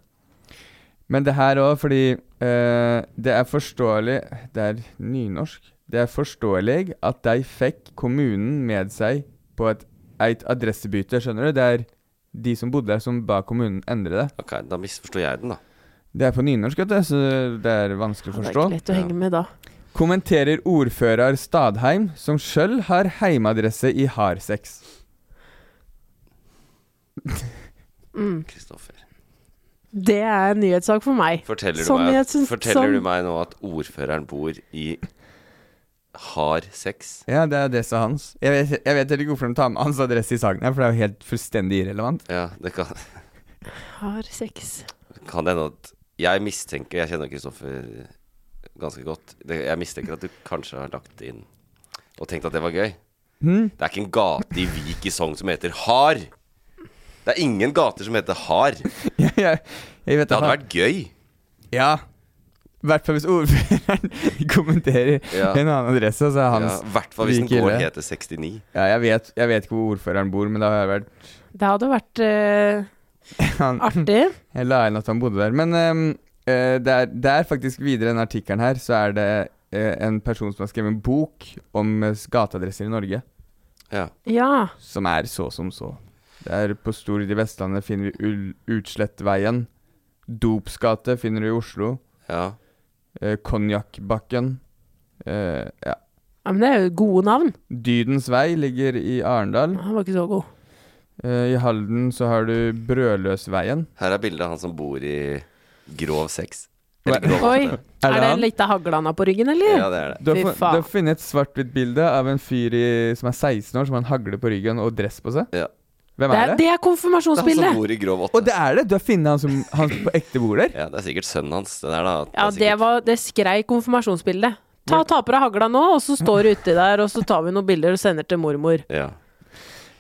Speaker 2: Men det her òg, fordi eh, det er forståelig Det er nynorsk. Det er forståelig at de fikk kommunen med seg på et, et adressebytte, skjønner du? Det er de som bodde der, som ba kommunen endre det.
Speaker 1: Ok, da misforsto jeg den, da.
Speaker 2: Det er på nynorsk, vet du, så det er vanskelig å
Speaker 3: Det er
Speaker 2: forstå.
Speaker 3: ikke lett å henge med da.
Speaker 2: Kommenterer ordfører Stadheim, som sjøl har heimadresse i Harsex.
Speaker 3: Mm.
Speaker 1: Kristoffer.
Speaker 3: Det er en nyhetssak for meg. Sånn
Speaker 1: Forteller, du
Speaker 3: Som
Speaker 1: meg,
Speaker 3: jeg
Speaker 1: at,
Speaker 3: syns-
Speaker 1: forteller
Speaker 3: som-
Speaker 1: du meg nå at ordføreren bor i hard sex?
Speaker 2: Ja, det er adressa hans. Jeg vet, jeg vet heller ikke hvorfor de tar med hans adresse i saken her, for det er jo helt fullstendig irrelevant.
Speaker 1: Ja, det kan,
Speaker 3: Har sex.
Speaker 1: kan det hende at Jeg mistenker Jeg kjenner Kristoffer ganske godt. Det, jeg mistenker at du kanskje har lagt det inn og tenkt at det var gøy. Det er ikke en gate i Vik i Sogn som heter Har. Det er ingen gater som heter Har. Det
Speaker 2: jeg, jeg, jeg vet
Speaker 1: hadde
Speaker 2: han-
Speaker 1: vært gøy.
Speaker 2: Ja. I hvert fall hvis ordføreren kommenterer
Speaker 1: Ja.
Speaker 2: en annen adresse, og så er
Speaker 1: I
Speaker 2: hans
Speaker 1: hvert fall hvis en
Speaker 2: like
Speaker 1: gård
Speaker 2: ille.
Speaker 1: heter 69.
Speaker 2: Ja, jeg vet, jeg vet ikke hvor ordføreren bor, men da har jeg vært
Speaker 3: Det hadde vært eh,
Speaker 2: han,
Speaker 3: artig.
Speaker 2: Jeg la inn at han bodde der. Men ehm, eh, det, er, det er faktisk videre i den artikkelen her, så er det eh, en person som har skrevet en bok om eh, gateadresser i Norge,
Speaker 1: Ja.
Speaker 3: Ja.
Speaker 2: som er så som så. Det er på Stord i Vestlandet finner vi Ull- Utslettveien. Dopsgate finner du i Oslo.
Speaker 1: ja.
Speaker 2: Eh, Konjakkbakken. Eh, ja.
Speaker 3: ja. Men det er jo gode navn.
Speaker 2: Dydens vei ligger i Arendal.
Speaker 3: Han var ikke så god.
Speaker 2: Eh, I Halden så har du Brødløsveien.
Speaker 1: Her er bildet av han som bor i grov sex.
Speaker 2: Hva-
Speaker 1: grov
Speaker 3: Oi.
Speaker 1: åtte.
Speaker 2: Er
Speaker 3: Er
Speaker 2: det
Speaker 3: det
Speaker 2: han?
Speaker 3: en liten haglanda på ryggen, eller?
Speaker 1: Ja, det er det.
Speaker 2: Du har,
Speaker 3: Fy
Speaker 2: fun-
Speaker 3: faen.
Speaker 2: du har funnet et svart-hvitt bilde av en fyr i, som er 16 år, som har en hagle på ryggen og dress på seg.
Speaker 1: Ja.
Speaker 2: Hvem
Speaker 3: Det
Speaker 2: er
Speaker 3: er,
Speaker 2: det?
Speaker 3: det er
Speaker 1: Det er sånn han som
Speaker 3: konfirmasjonsbildet!
Speaker 1: bor i grov åtte.
Speaker 2: Og det er det! Du har funnet han som han som på ekte bor der.
Speaker 1: Ja, det er sikkert sønnen hans. Det der, da. er
Speaker 3: Ja, det,
Speaker 1: sikkert-
Speaker 3: var, det skrei konfirmasjonsbildet. Ta, ta på deg hagla nå, og så står du uti der, og så tar vi noen bilder og sender til mormor.
Speaker 1: ja.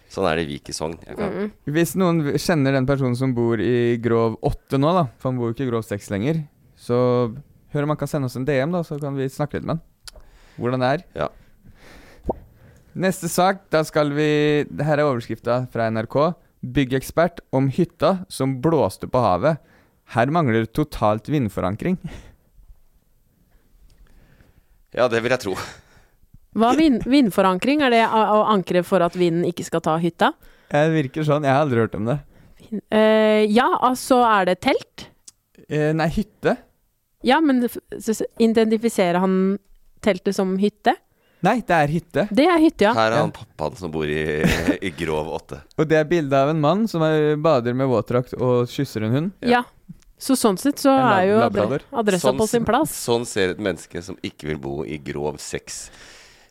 Speaker 1: Sånn er det i Vik i Sogn. Jeg kan-
Speaker 2: Hvis noen kjenner den personen som bor i Grov 8 nå, da, for han bor jo ikke i Grov 6 lenger, så hør om han kan sende oss en DM, da, så kan vi snakke litt med han. Hvordan det er.
Speaker 1: Ja.
Speaker 2: Neste sak, da skal vi det Her er overskrifta fra NRK. Byggekspert om hytta som blåste på havet. Her mangler totalt vindforankring.
Speaker 1: ja, det vil jeg tro.
Speaker 3: Hva er vind, vindforankring? Er det å, å ankre for at vinden ikke skal ta hytta?
Speaker 2: Det virker sånn. Jeg har aldri hørt om det.
Speaker 3: Eh, ja, altså er det telt?
Speaker 2: Eh, nei, hytte?
Speaker 3: Ja, men f- s- identifiserer han teltet som hytte?
Speaker 2: Nei, det er hytte.
Speaker 3: Det er hytte, ja.
Speaker 1: Her er han pappaen som bor i, i grov åtte.
Speaker 2: Og det er bilde av en mann som er, bader med våtdrakt og kysser en hund.
Speaker 3: ja. Så sånn sett så
Speaker 2: En lab-
Speaker 3: er jo adre-
Speaker 2: labrador.
Speaker 3: adressa på sin plass.
Speaker 1: sånn ser et menneske som ikke vil bo i grov sex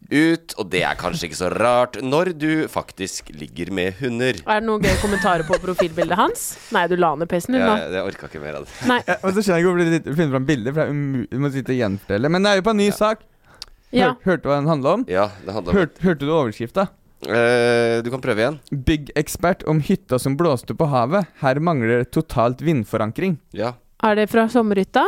Speaker 1: ut, og det er kanskje ikke så rart når du faktisk ligger med hunder.
Speaker 3: Er det noen gøye kommentarer på profilbildet hans? Nei, du la ned PC-en din nå.
Speaker 1: Jeg, jeg orka ikke mer av det.
Speaker 3: Nei.
Speaker 2: Og så skjønner jeg ikke hvorfor de sitter- finner fram bilder, for det er umu- du må sitte og gjenfortelle. Men det er jo på en ny sak. Hør,
Speaker 3: Ja.
Speaker 2: Hørte du hva den handla om?
Speaker 1: Ja, det handler om
Speaker 2: Hørte, hørte du overskrifta?
Speaker 1: Eh, Du kan prøve igjen.
Speaker 2: Byggekspert om hytta som blåste på havet. Her mangler det totalt vindforankring.
Speaker 1: Ja.
Speaker 3: Er det fra sommerhytta?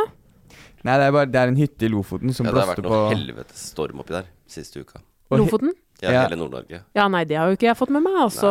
Speaker 2: Nei, det er bare det er en hytte i Lofoten som
Speaker 1: ja det har
Speaker 2: blåste
Speaker 1: vært
Speaker 2: på
Speaker 1: noe helvetes storm oppi der siste uka.
Speaker 2: og he-
Speaker 3: Lofoten?
Speaker 1: Ja,
Speaker 2: Ja.
Speaker 1: Hele Nord-Norge.
Speaker 3: Ja, nei, det har jo ikke jeg fått med meg, altså.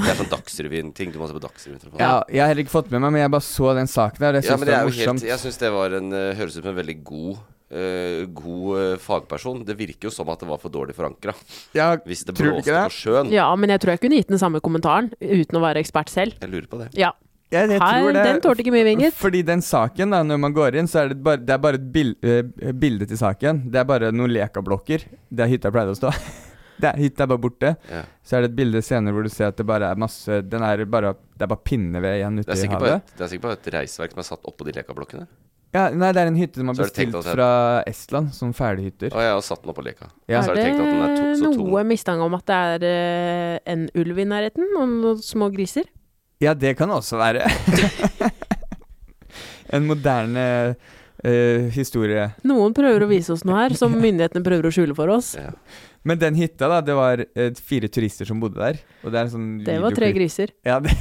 Speaker 1: Det er sånn Dagsrevyen-ting. Du må se på Dagsrevyen. for å få
Speaker 2: Ja, jeg har heller ikke fått med meg, men jeg bare så den saken der. og Jeg
Speaker 1: Ja,
Speaker 2: synes
Speaker 1: men
Speaker 2: det
Speaker 1: det
Speaker 2: var
Speaker 1: er jo
Speaker 2: morsomt.
Speaker 1: helt Jeg syns det var en eh, Høres ut som en veldig god eh, god eh, fagperson. Det virker jo som at det var for dårlig forankra.
Speaker 2: Ja,
Speaker 1: Hvis det
Speaker 2: tror du ikke
Speaker 1: blåste på sjøen.
Speaker 3: Ja, men jeg tror jeg kunne gitt den samme kommentaren uten å være ekspert selv.
Speaker 1: Jeg lurer på det.
Speaker 3: Ja.
Speaker 2: Jeg, jeg
Speaker 3: Her,
Speaker 2: tror det,
Speaker 3: den tålte ikke mye vinget.
Speaker 2: Fordi den saken, da, når man går inn, så er det bare, det er bare et bil, eh, bilde til saken. Det er bare noen lekablokker der hytta pleide å stå. Det er, hytta er bare borte.
Speaker 1: Ja.
Speaker 2: Så er det et bilde senere hvor du ser at det bare er masse Den er bare, Det er bare pinneved igjen
Speaker 1: Det
Speaker 2: ute
Speaker 1: er
Speaker 2: i
Speaker 1: sikkert bare
Speaker 2: havet.
Speaker 1: et, det er sikkert bare et reisverk som er satt oppå de lekablokkene.
Speaker 2: Ja, nei, det er en hytte som er
Speaker 1: Så er det tenkt
Speaker 2: bestilt
Speaker 1: at det-
Speaker 2: fra Estland, som ferdighytter.
Speaker 1: Å, jeg har satt den oppå leka.
Speaker 2: Ja.
Speaker 1: Så
Speaker 3: Er
Speaker 1: har jeg
Speaker 3: det
Speaker 1: tenkt at den er to, så tung.
Speaker 3: noe mistanke om at det er eh, en ulv i nærheten, og noen små griser?
Speaker 2: Ja, det kan også være. en moderne eh, historie.
Speaker 3: Noen prøver å vise oss noe her, som myndighetene prøver å skjule for oss.
Speaker 1: Ja.
Speaker 2: Men den hytta, da, det var eh, fire turister som bodde der. Og det er en sånn
Speaker 3: Det var tre
Speaker 2: videoklipp.
Speaker 3: griser.
Speaker 2: Ja, det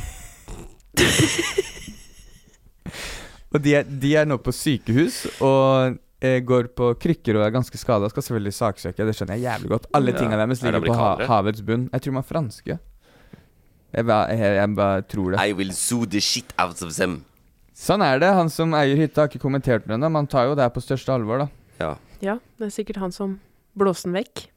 Speaker 2: Og de er, de er nå på sykehus og eh, går på krykker og er ganske skada. Skal selvfølgelig saksøke, det skjønner jeg jævlig godt. Alle
Speaker 1: Ja.
Speaker 2: tinga deres
Speaker 1: Er det
Speaker 2: ligger på ha
Speaker 1: amerikanere?
Speaker 2: havets bunn. Jeg tror de er franske. Jeg bare, jeg, jeg bare tror det.
Speaker 1: I will sue the shit out of them.
Speaker 2: Sånn er det. Han som eier hytta, har ikke kommentert det ennå, men han tar jo det her på største alvor, da.
Speaker 1: Ja.
Speaker 3: Ja, det er sikkert han som blåste den vekk.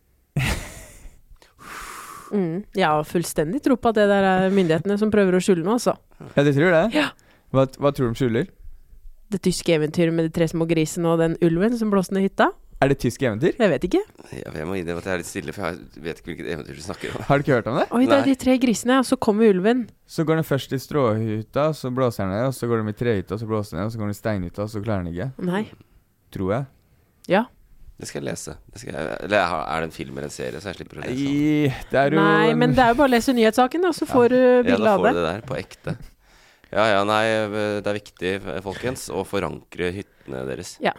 Speaker 3: Mm, jeg har fullstendig tro på at det der er myndighetene som prøver å skjule noe, altså.
Speaker 2: Ja, de tror det?
Speaker 3: Ja.
Speaker 2: Hva, hva tror de skjuler?
Speaker 3: Det tyske eventyret med de tre små grisene og den ulven som blåste ned hytta.
Speaker 2: Er det tysk eventyr?
Speaker 3: Jeg vet ikke.
Speaker 1: Jeg, jeg må innrømme at jeg er litt stille, for jeg vet ikke hvilket eventyr du snakker om.
Speaker 2: Har du ikke hørt om det?
Speaker 3: Oi, det
Speaker 1: Nei.
Speaker 3: er de tre grisene, og så kommer ulven.
Speaker 2: Så går den først i stråhytta, så blåser den ned, og så går den i trehytta, så blåser den ned, og så går den i steinhytta, og så klarer den ikke.
Speaker 3: Nei.
Speaker 1: Mm.
Speaker 2: Tror jeg.
Speaker 3: Ja.
Speaker 1: Det skal jeg lese. Det skal jeg, eller jeg har- er det en film eller en serie, så jeg slipper å lese? om det.
Speaker 2: Nei, det er jo
Speaker 3: Nei,
Speaker 2: en-
Speaker 3: men det er jo bare å lese nyhetssaken, da, så får du
Speaker 1: Ja,
Speaker 3: bilde
Speaker 1: da
Speaker 3: av
Speaker 1: får
Speaker 3: det.
Speaker 1: du det der på ekte. Ja ja, nei, det er viktig, folkens, å forankre hyttene deres.
Speaker 3: Ja.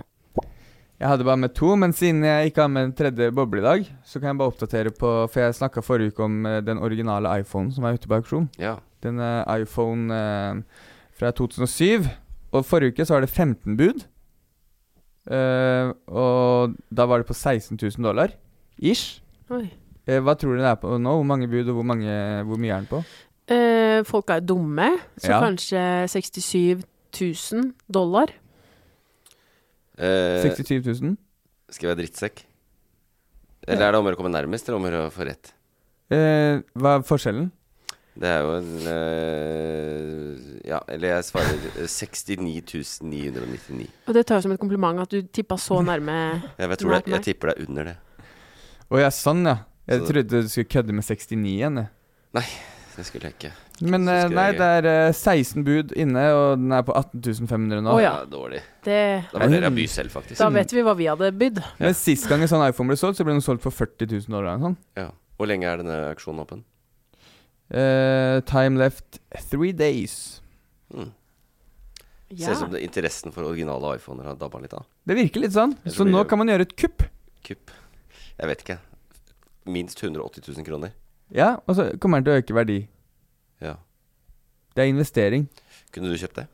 Speaker 2: Jeg hadde bare med to, men siden jeg ikke har med en tredje boble i dag, så kan jeg bare oppdatere på For jeg snakka forrige uke om eh, den originale iPhonen som er ute på auksjon.
Speaker 1: Ja.
Speaker 2: Den eh, iPhone eh, fra 2007. Og forrige uke så var det 15 bud. Eh, og da var det på 16 000 dollar. Ish.
Speaker 3: Oi.
Speaker 2: Eh, hva tror du det er på nå? Hvor mange bud, og hvor, mange, hvor mye er den på?
Speaker 3: Eh, folk er dumme, så
Speaker 2: Ja.
Speaker 3: kanskje 67 000 dollar.
Speaker 1: Eh,
Speaker 2: 67 000?
Speaker 1: skal jeg være drittsekk? Eller er det om å gjøre å komme nærmest, eller om å gjøre å få rett?
Speaker 2: Eh, hva er forskjellen?
Speaker 1: Det er jo en eh, Ja, eller jeg svarer eh, 69 999.
Speaker 3: Og det tar jeg som et kompliment at du tippa så nærme.
Speaker 1: Jeg, vet, tror
Speaker 3: Nei,
Speaker 1: det, jeg
Speaker 3: nei.
Speaker 1: tipper det er under det.
Speaker 2: Å ja, sånn, ja. Jeg
Speaker 1: Så-
Speaker 2: trodde du skulle kødde med 69 igjen. jeg.
Speaker 1: Det skulle jeg ikke.
Speaker 2: Men
Speaker 1: Så
Speaker 2: eh,
Speaker 1: skal
Speaker 2: nei,
Speaker 1: jeg-
Speaker 2: det er eh, 16 bud inne, og den er på 18.500 nå.
Speaker 3: Å, ja.
Speaker 1: Det er Dårlig.
Speaker 3: Det,
Speaker 1: Da vurderer jeg by selv, faktisk.
Speaker 3: da vet vi hva vi hadde bydd.
Speaker 2: Men sist gang en sånn iPhone ble solgt, så ble den solgt for 40 000 dollar. eller noe sånt.
Speaker 1: Mm. Ja. Hvor lenge er denne auksjonen åpen?
Speaker 2: Eh, time left three days.
Speaker 1: Mm.
Speaker 3: Ja.
Speaker 1: Ser ut som det, interessen for originale iPhoner har dabba litt av.
Speaker 2: Det virker litt sånn.
Speaker 1: Jeg
Speaker 2: Så
Speaker 1: tror det
Speaker 2: nå
Speaker 1: gjør-
Speaker 2: kan man gjøre et kupp.
Speaker 1: Kupp. Jeg vet ikke. Minst 180 000 kroner.
Speaker 2: Ja, og så kommer den til å øke verdi.
Speaker 1: Ja.
Speaker 2: Det er investering.
Speaker 1: Kunne du kjøpt det?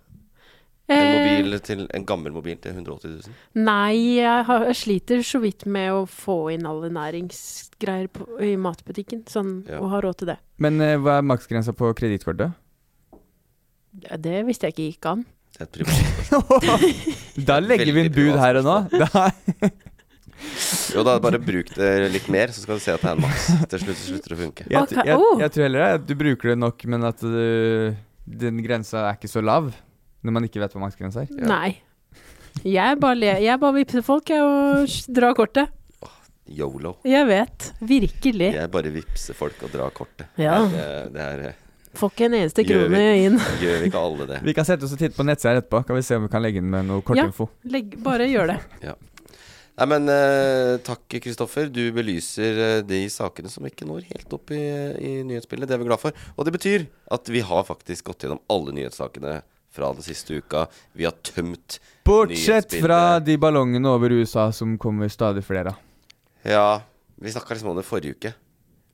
Speaker 1: En,
Speaker 3: Eh,
Speaker 1: mobil til, en gammel mobil til 180 000?
Speaker 3: Nei, jeg, har, jeg sliter så vidt med å få inn alle næringsgreier på, i matbutikken. Sånn,
Speaker 1: Ja.
Speaker 3: Og ha råd til det.
Speaker 2: Men eh, hva er maksgrensa på kredittkortet?
Speaker 3: Ja, Det visste jeg ikke gikk an.
Speaker 1: Det er et privat.
Speaker 2: da legger vi inn
Speaker 1: Veldig
Speaker 2: bud
Speaker 1: privat altså.
Speaker 2: her og nå. Da,
Speaker 1: Jo da, bare bruk det litt mer, så skal du se at det er en maks. Til slutt så slutter det å funke.
Speaker 2: jeg,
Speaker 3: Ok,
Speaker 2: tr- jeg,
Speaker 3: oh.
Speaker 2: jeg tror heller det er at du bruker det nok, men at du, den grensa er ikke så lav. Når man ikke vet hva maksgrensa er.
Speaker 3: Nei. Jeg bare, le, jeg bare vipser folk jeg, og s- drar kortet.
Speaker 1: Yolo.
Speaker 3: Jeg vet. Virkelig.
Speaker 1: Jeg bare vippser folk og drar kortet.
Speaker 3: Ja.
Speaker 1: Det, det er eh,
Speaker 3: Får ikke en eneste
Speaker 1: Gjør
Speaker 3: krone
Speaker 1: vi.
Speaker 3: inn.
Speaker 1: Gjør ikke alle det?
Speaker 2: Vi kan sette oss og titte på nettsida etterpå. Kan vi se om vi kan legge inn med noe
Speaker 3: Ja.
Speaker 2: kortinfo.
Speaker 3: Legg, bare gjør det.
Speaker 1: Nei, men eh, takk, Kristoffer. Du belyser eh, de sakene som ikke når helt opp i, i nyhetsbildet. Det er vi glad for. Og det betyr at vi har faktisk gått gjennom alle nyhetssakene fra den siste uka. Vi har tømt
Speaker 2: Bortsett
Speaker 1: nyhetsbildet.
Speaker 2: fra de ballongene over USA som kommer stadig flere av.
Speaker 1: Ja. Vi snakka liksom om det forrige uke.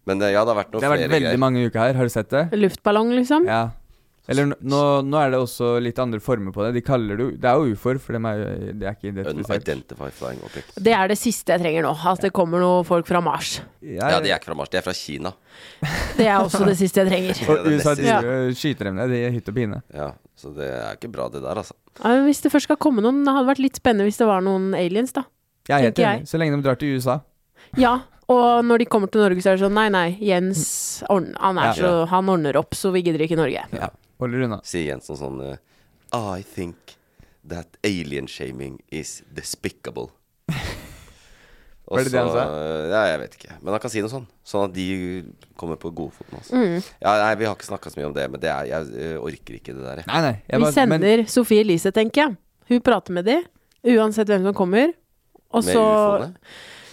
Speaker 1: Men eh, ja, det har vært noen
Speaker 2: Det har vært
Speaker 1: flere
Speaker 2: veldig
Speaker 1: greier.
Speaker 2: mange uker her, har du sett det?
Speaker 3: Luftballong, liksom.
Speaker 2: Ja. Eller n- nå, nå er det også litt andre former på det. De kaller det jo Det er jo ufoer, for de er, jo- de er ikke identifisert.
Speaker 1: Unidentified flying objects.
Speaker 3: Det er det siste jeg trenger nå. At det kommer noen folk fra Mars.
Speaker 1: Ja, de er ikke fra Mars. De er fra Kina.
Speaker 3: Det er også det siste jeg trenger.
Speaker 1: Det er
Speaker 2: Og
Speaker 1: det
Speaker 2: USA
Speaker 1: neste.
Speaker 3: Ja.
Speaker 2: driver- skyter dem ned i hytt og pine.
Speaker 1: Ja, Så det er ikke bra, det der, altså.
Speaker 3: Ja, men hvis det først skal komme noen, det hadde vært litt spennende hvis det var noen aliens, da.
Speaker 2: Jeg er helt
Speaker 3: Tenker jeg.
Speaker 2: enig. Så lenge de drar til USA.
Speaker 3: Ja, og når de kommer til Norge, så er det sånn nei, nei, Jens ordn- han, er
Speaker 1: Ja.
Speaker 3: så, han ordner opp, så vi gidder ikke Norge.
Speaker 2: Holder unna.
Speaker 1: sier Jensen sånn eh, I think that alien shaming is despicable. Og
Speaker 2: Var det det han
Speaker 1: så- Ja, jeg vet ikke. Men han kan si noe sånn. Sånn at de kommer på godfoten. Altså.
Speaker 3: Mm.
Speaker 1: Ja, nei, vi har ikke snakka så mye om det, men det er, jeg eh, orker ikke det der. jeg.
Speaker 2: Nei, nei. jeg
Speaker 3: Vi
Speaker 2: bare- men-
Speaker 3: sender Sofie Elise, tenker jeg. Hun prater med de, uansett hvem som kommer. Og
Speaker 1: Med
Speaker 3: så
Speaker 1: ufoene.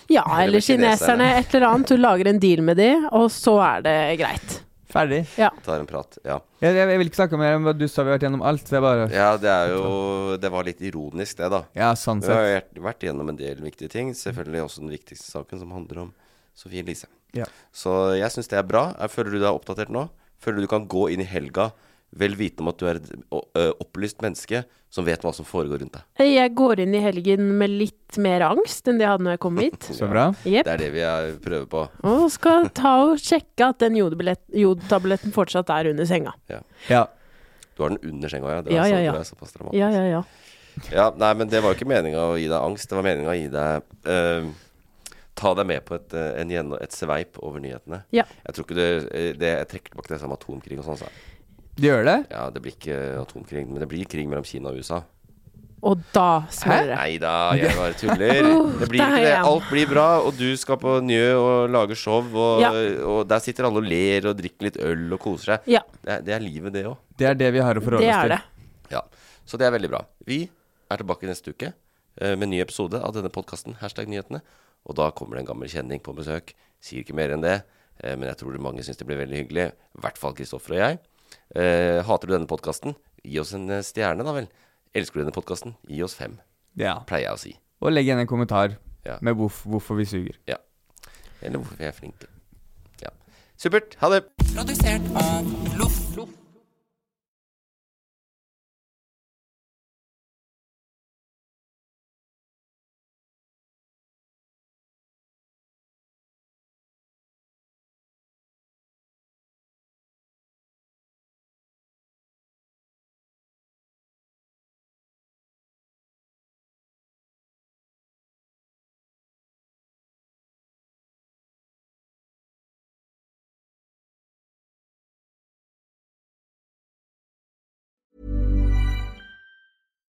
Speaker 3: Ja,
Speaker 1: Eller
Speaker 3: eller
Speaker 1: med
Speaker 3: kineserne,
Speaker 1: kineserne.
Speaker 3: et eller annet. Hun lager en deal med de, og så er det greit.
Speaker 2: Ferdig.
Speaker 3: Ja.
Speaker 1: Tar en prat. Ja.
Speaker 2: Jeg, jeg, jeg vil ikke snakke mer om hva du sa, vi har vært gjennom alt. Så jeg bare
Speaker 1: ja, det er jo Det var litt ironisk, det, da.
Speaker 2: Ja, sånn
Speaker 1: Vi har
Speaker 2: sett.
Speaker 1: vært- vært gjennom en del viktige ting. Selvfølgelig også den viktigste saken, som handler om Sofie Elise.
Speaker 2: Ja.
Speaker 1: Så jeg syns det er bra. Jeg Føler du deg oppdatert nå? Føler du du kan gå inn i helga vel vitende om at du er et o- ø, opplyst menneske som vet hva som foregår rundt deg?
Speaker 3: Jeg går inn i helgen med litt mer angst enn det jeg hadde når jeg kom hit.
Speaker 2: Så bra.
Speaker 1: Det
Speaker 3: Jepp.
Speaker 1: er det vi er- prøver på.
Speaker 3: Og skal ta og sjekke at den jodbillett- jodtabletten fortsatt er under senga.
Speaker 2: Ja.
Speaker 1: Du har den under senga, ja. Det er
Speaker 3: Ja, ja,
Speaker 1: så-
Speaker 3: ja.
Speaker 1: det er såpass dramatisk.
Speaker 3: Ja, ja, ja.
Speaker 1: Ja, nei, men det var jo ikke meninga å gi deg angst. Det var meninga å gi deg eh, Ta deg med på et, eh, en gjennom, et sveip over nyhetene.
Speaker 3: Ja.
Speaker 1: Jeg tror ikke det, eh, det Jeg trekker tilbake det som atomkrig og sånn. Så.
Speaker 8: De gjør det?
Speaker 1: Ja, det blir ikke atomkrig, men det blir krig mellom Kina og USA.
Speaker 3: Og da smeller det.
Speaker 1: Nei da, jeg bare tuller.
Speaker 3: Oh,
Speaker 1: Det blir ikke det.
Speaker 3: damn.
Speaker 1: Alt blir bra, og du skal på Njø og lage show, og,
Speaker 3: Ja.
Speaker 1: og der sitter alle og ler og drikker litt øl og koser seg.
Speaker 3: Ja,
Speaker 1: Det, er- det er livet, det òg.
Speaker 8: Det er det vi har å forholde
Speaker 3: det
Speaker 8: oss
Speaker 3: er
Speaker 8: til.
Speaker 3: det.
Speaker 1: Ja. Så det er veldig bra. Vi er tilbake neste uke eh, med en ny episode av denne podkasten, hashtag nyhetene. Og da kommer det en gammel kjenning på besøk. Sier ikke mer enn det, eh, men jeg tror mange syns det blir veldig hyggelig. I hvert fall Kristoffer og jeg. Eh, Hater du denne podkasten? Gi oss en eh, stjerne, da vel. Elsker du denne podkasten? Gi oss fem,
Speaker 8: Ja.
Speaker 1: pleier jeg å si.
Speaker 8: Og legg igjen en kommentar
Speaker 1: Ja.
Speaker 8: med hvorf hvorfor vi suger.
Speaker 1: Ja. Eller hvorfor vi er flinke. Ja. Supert. Ha det.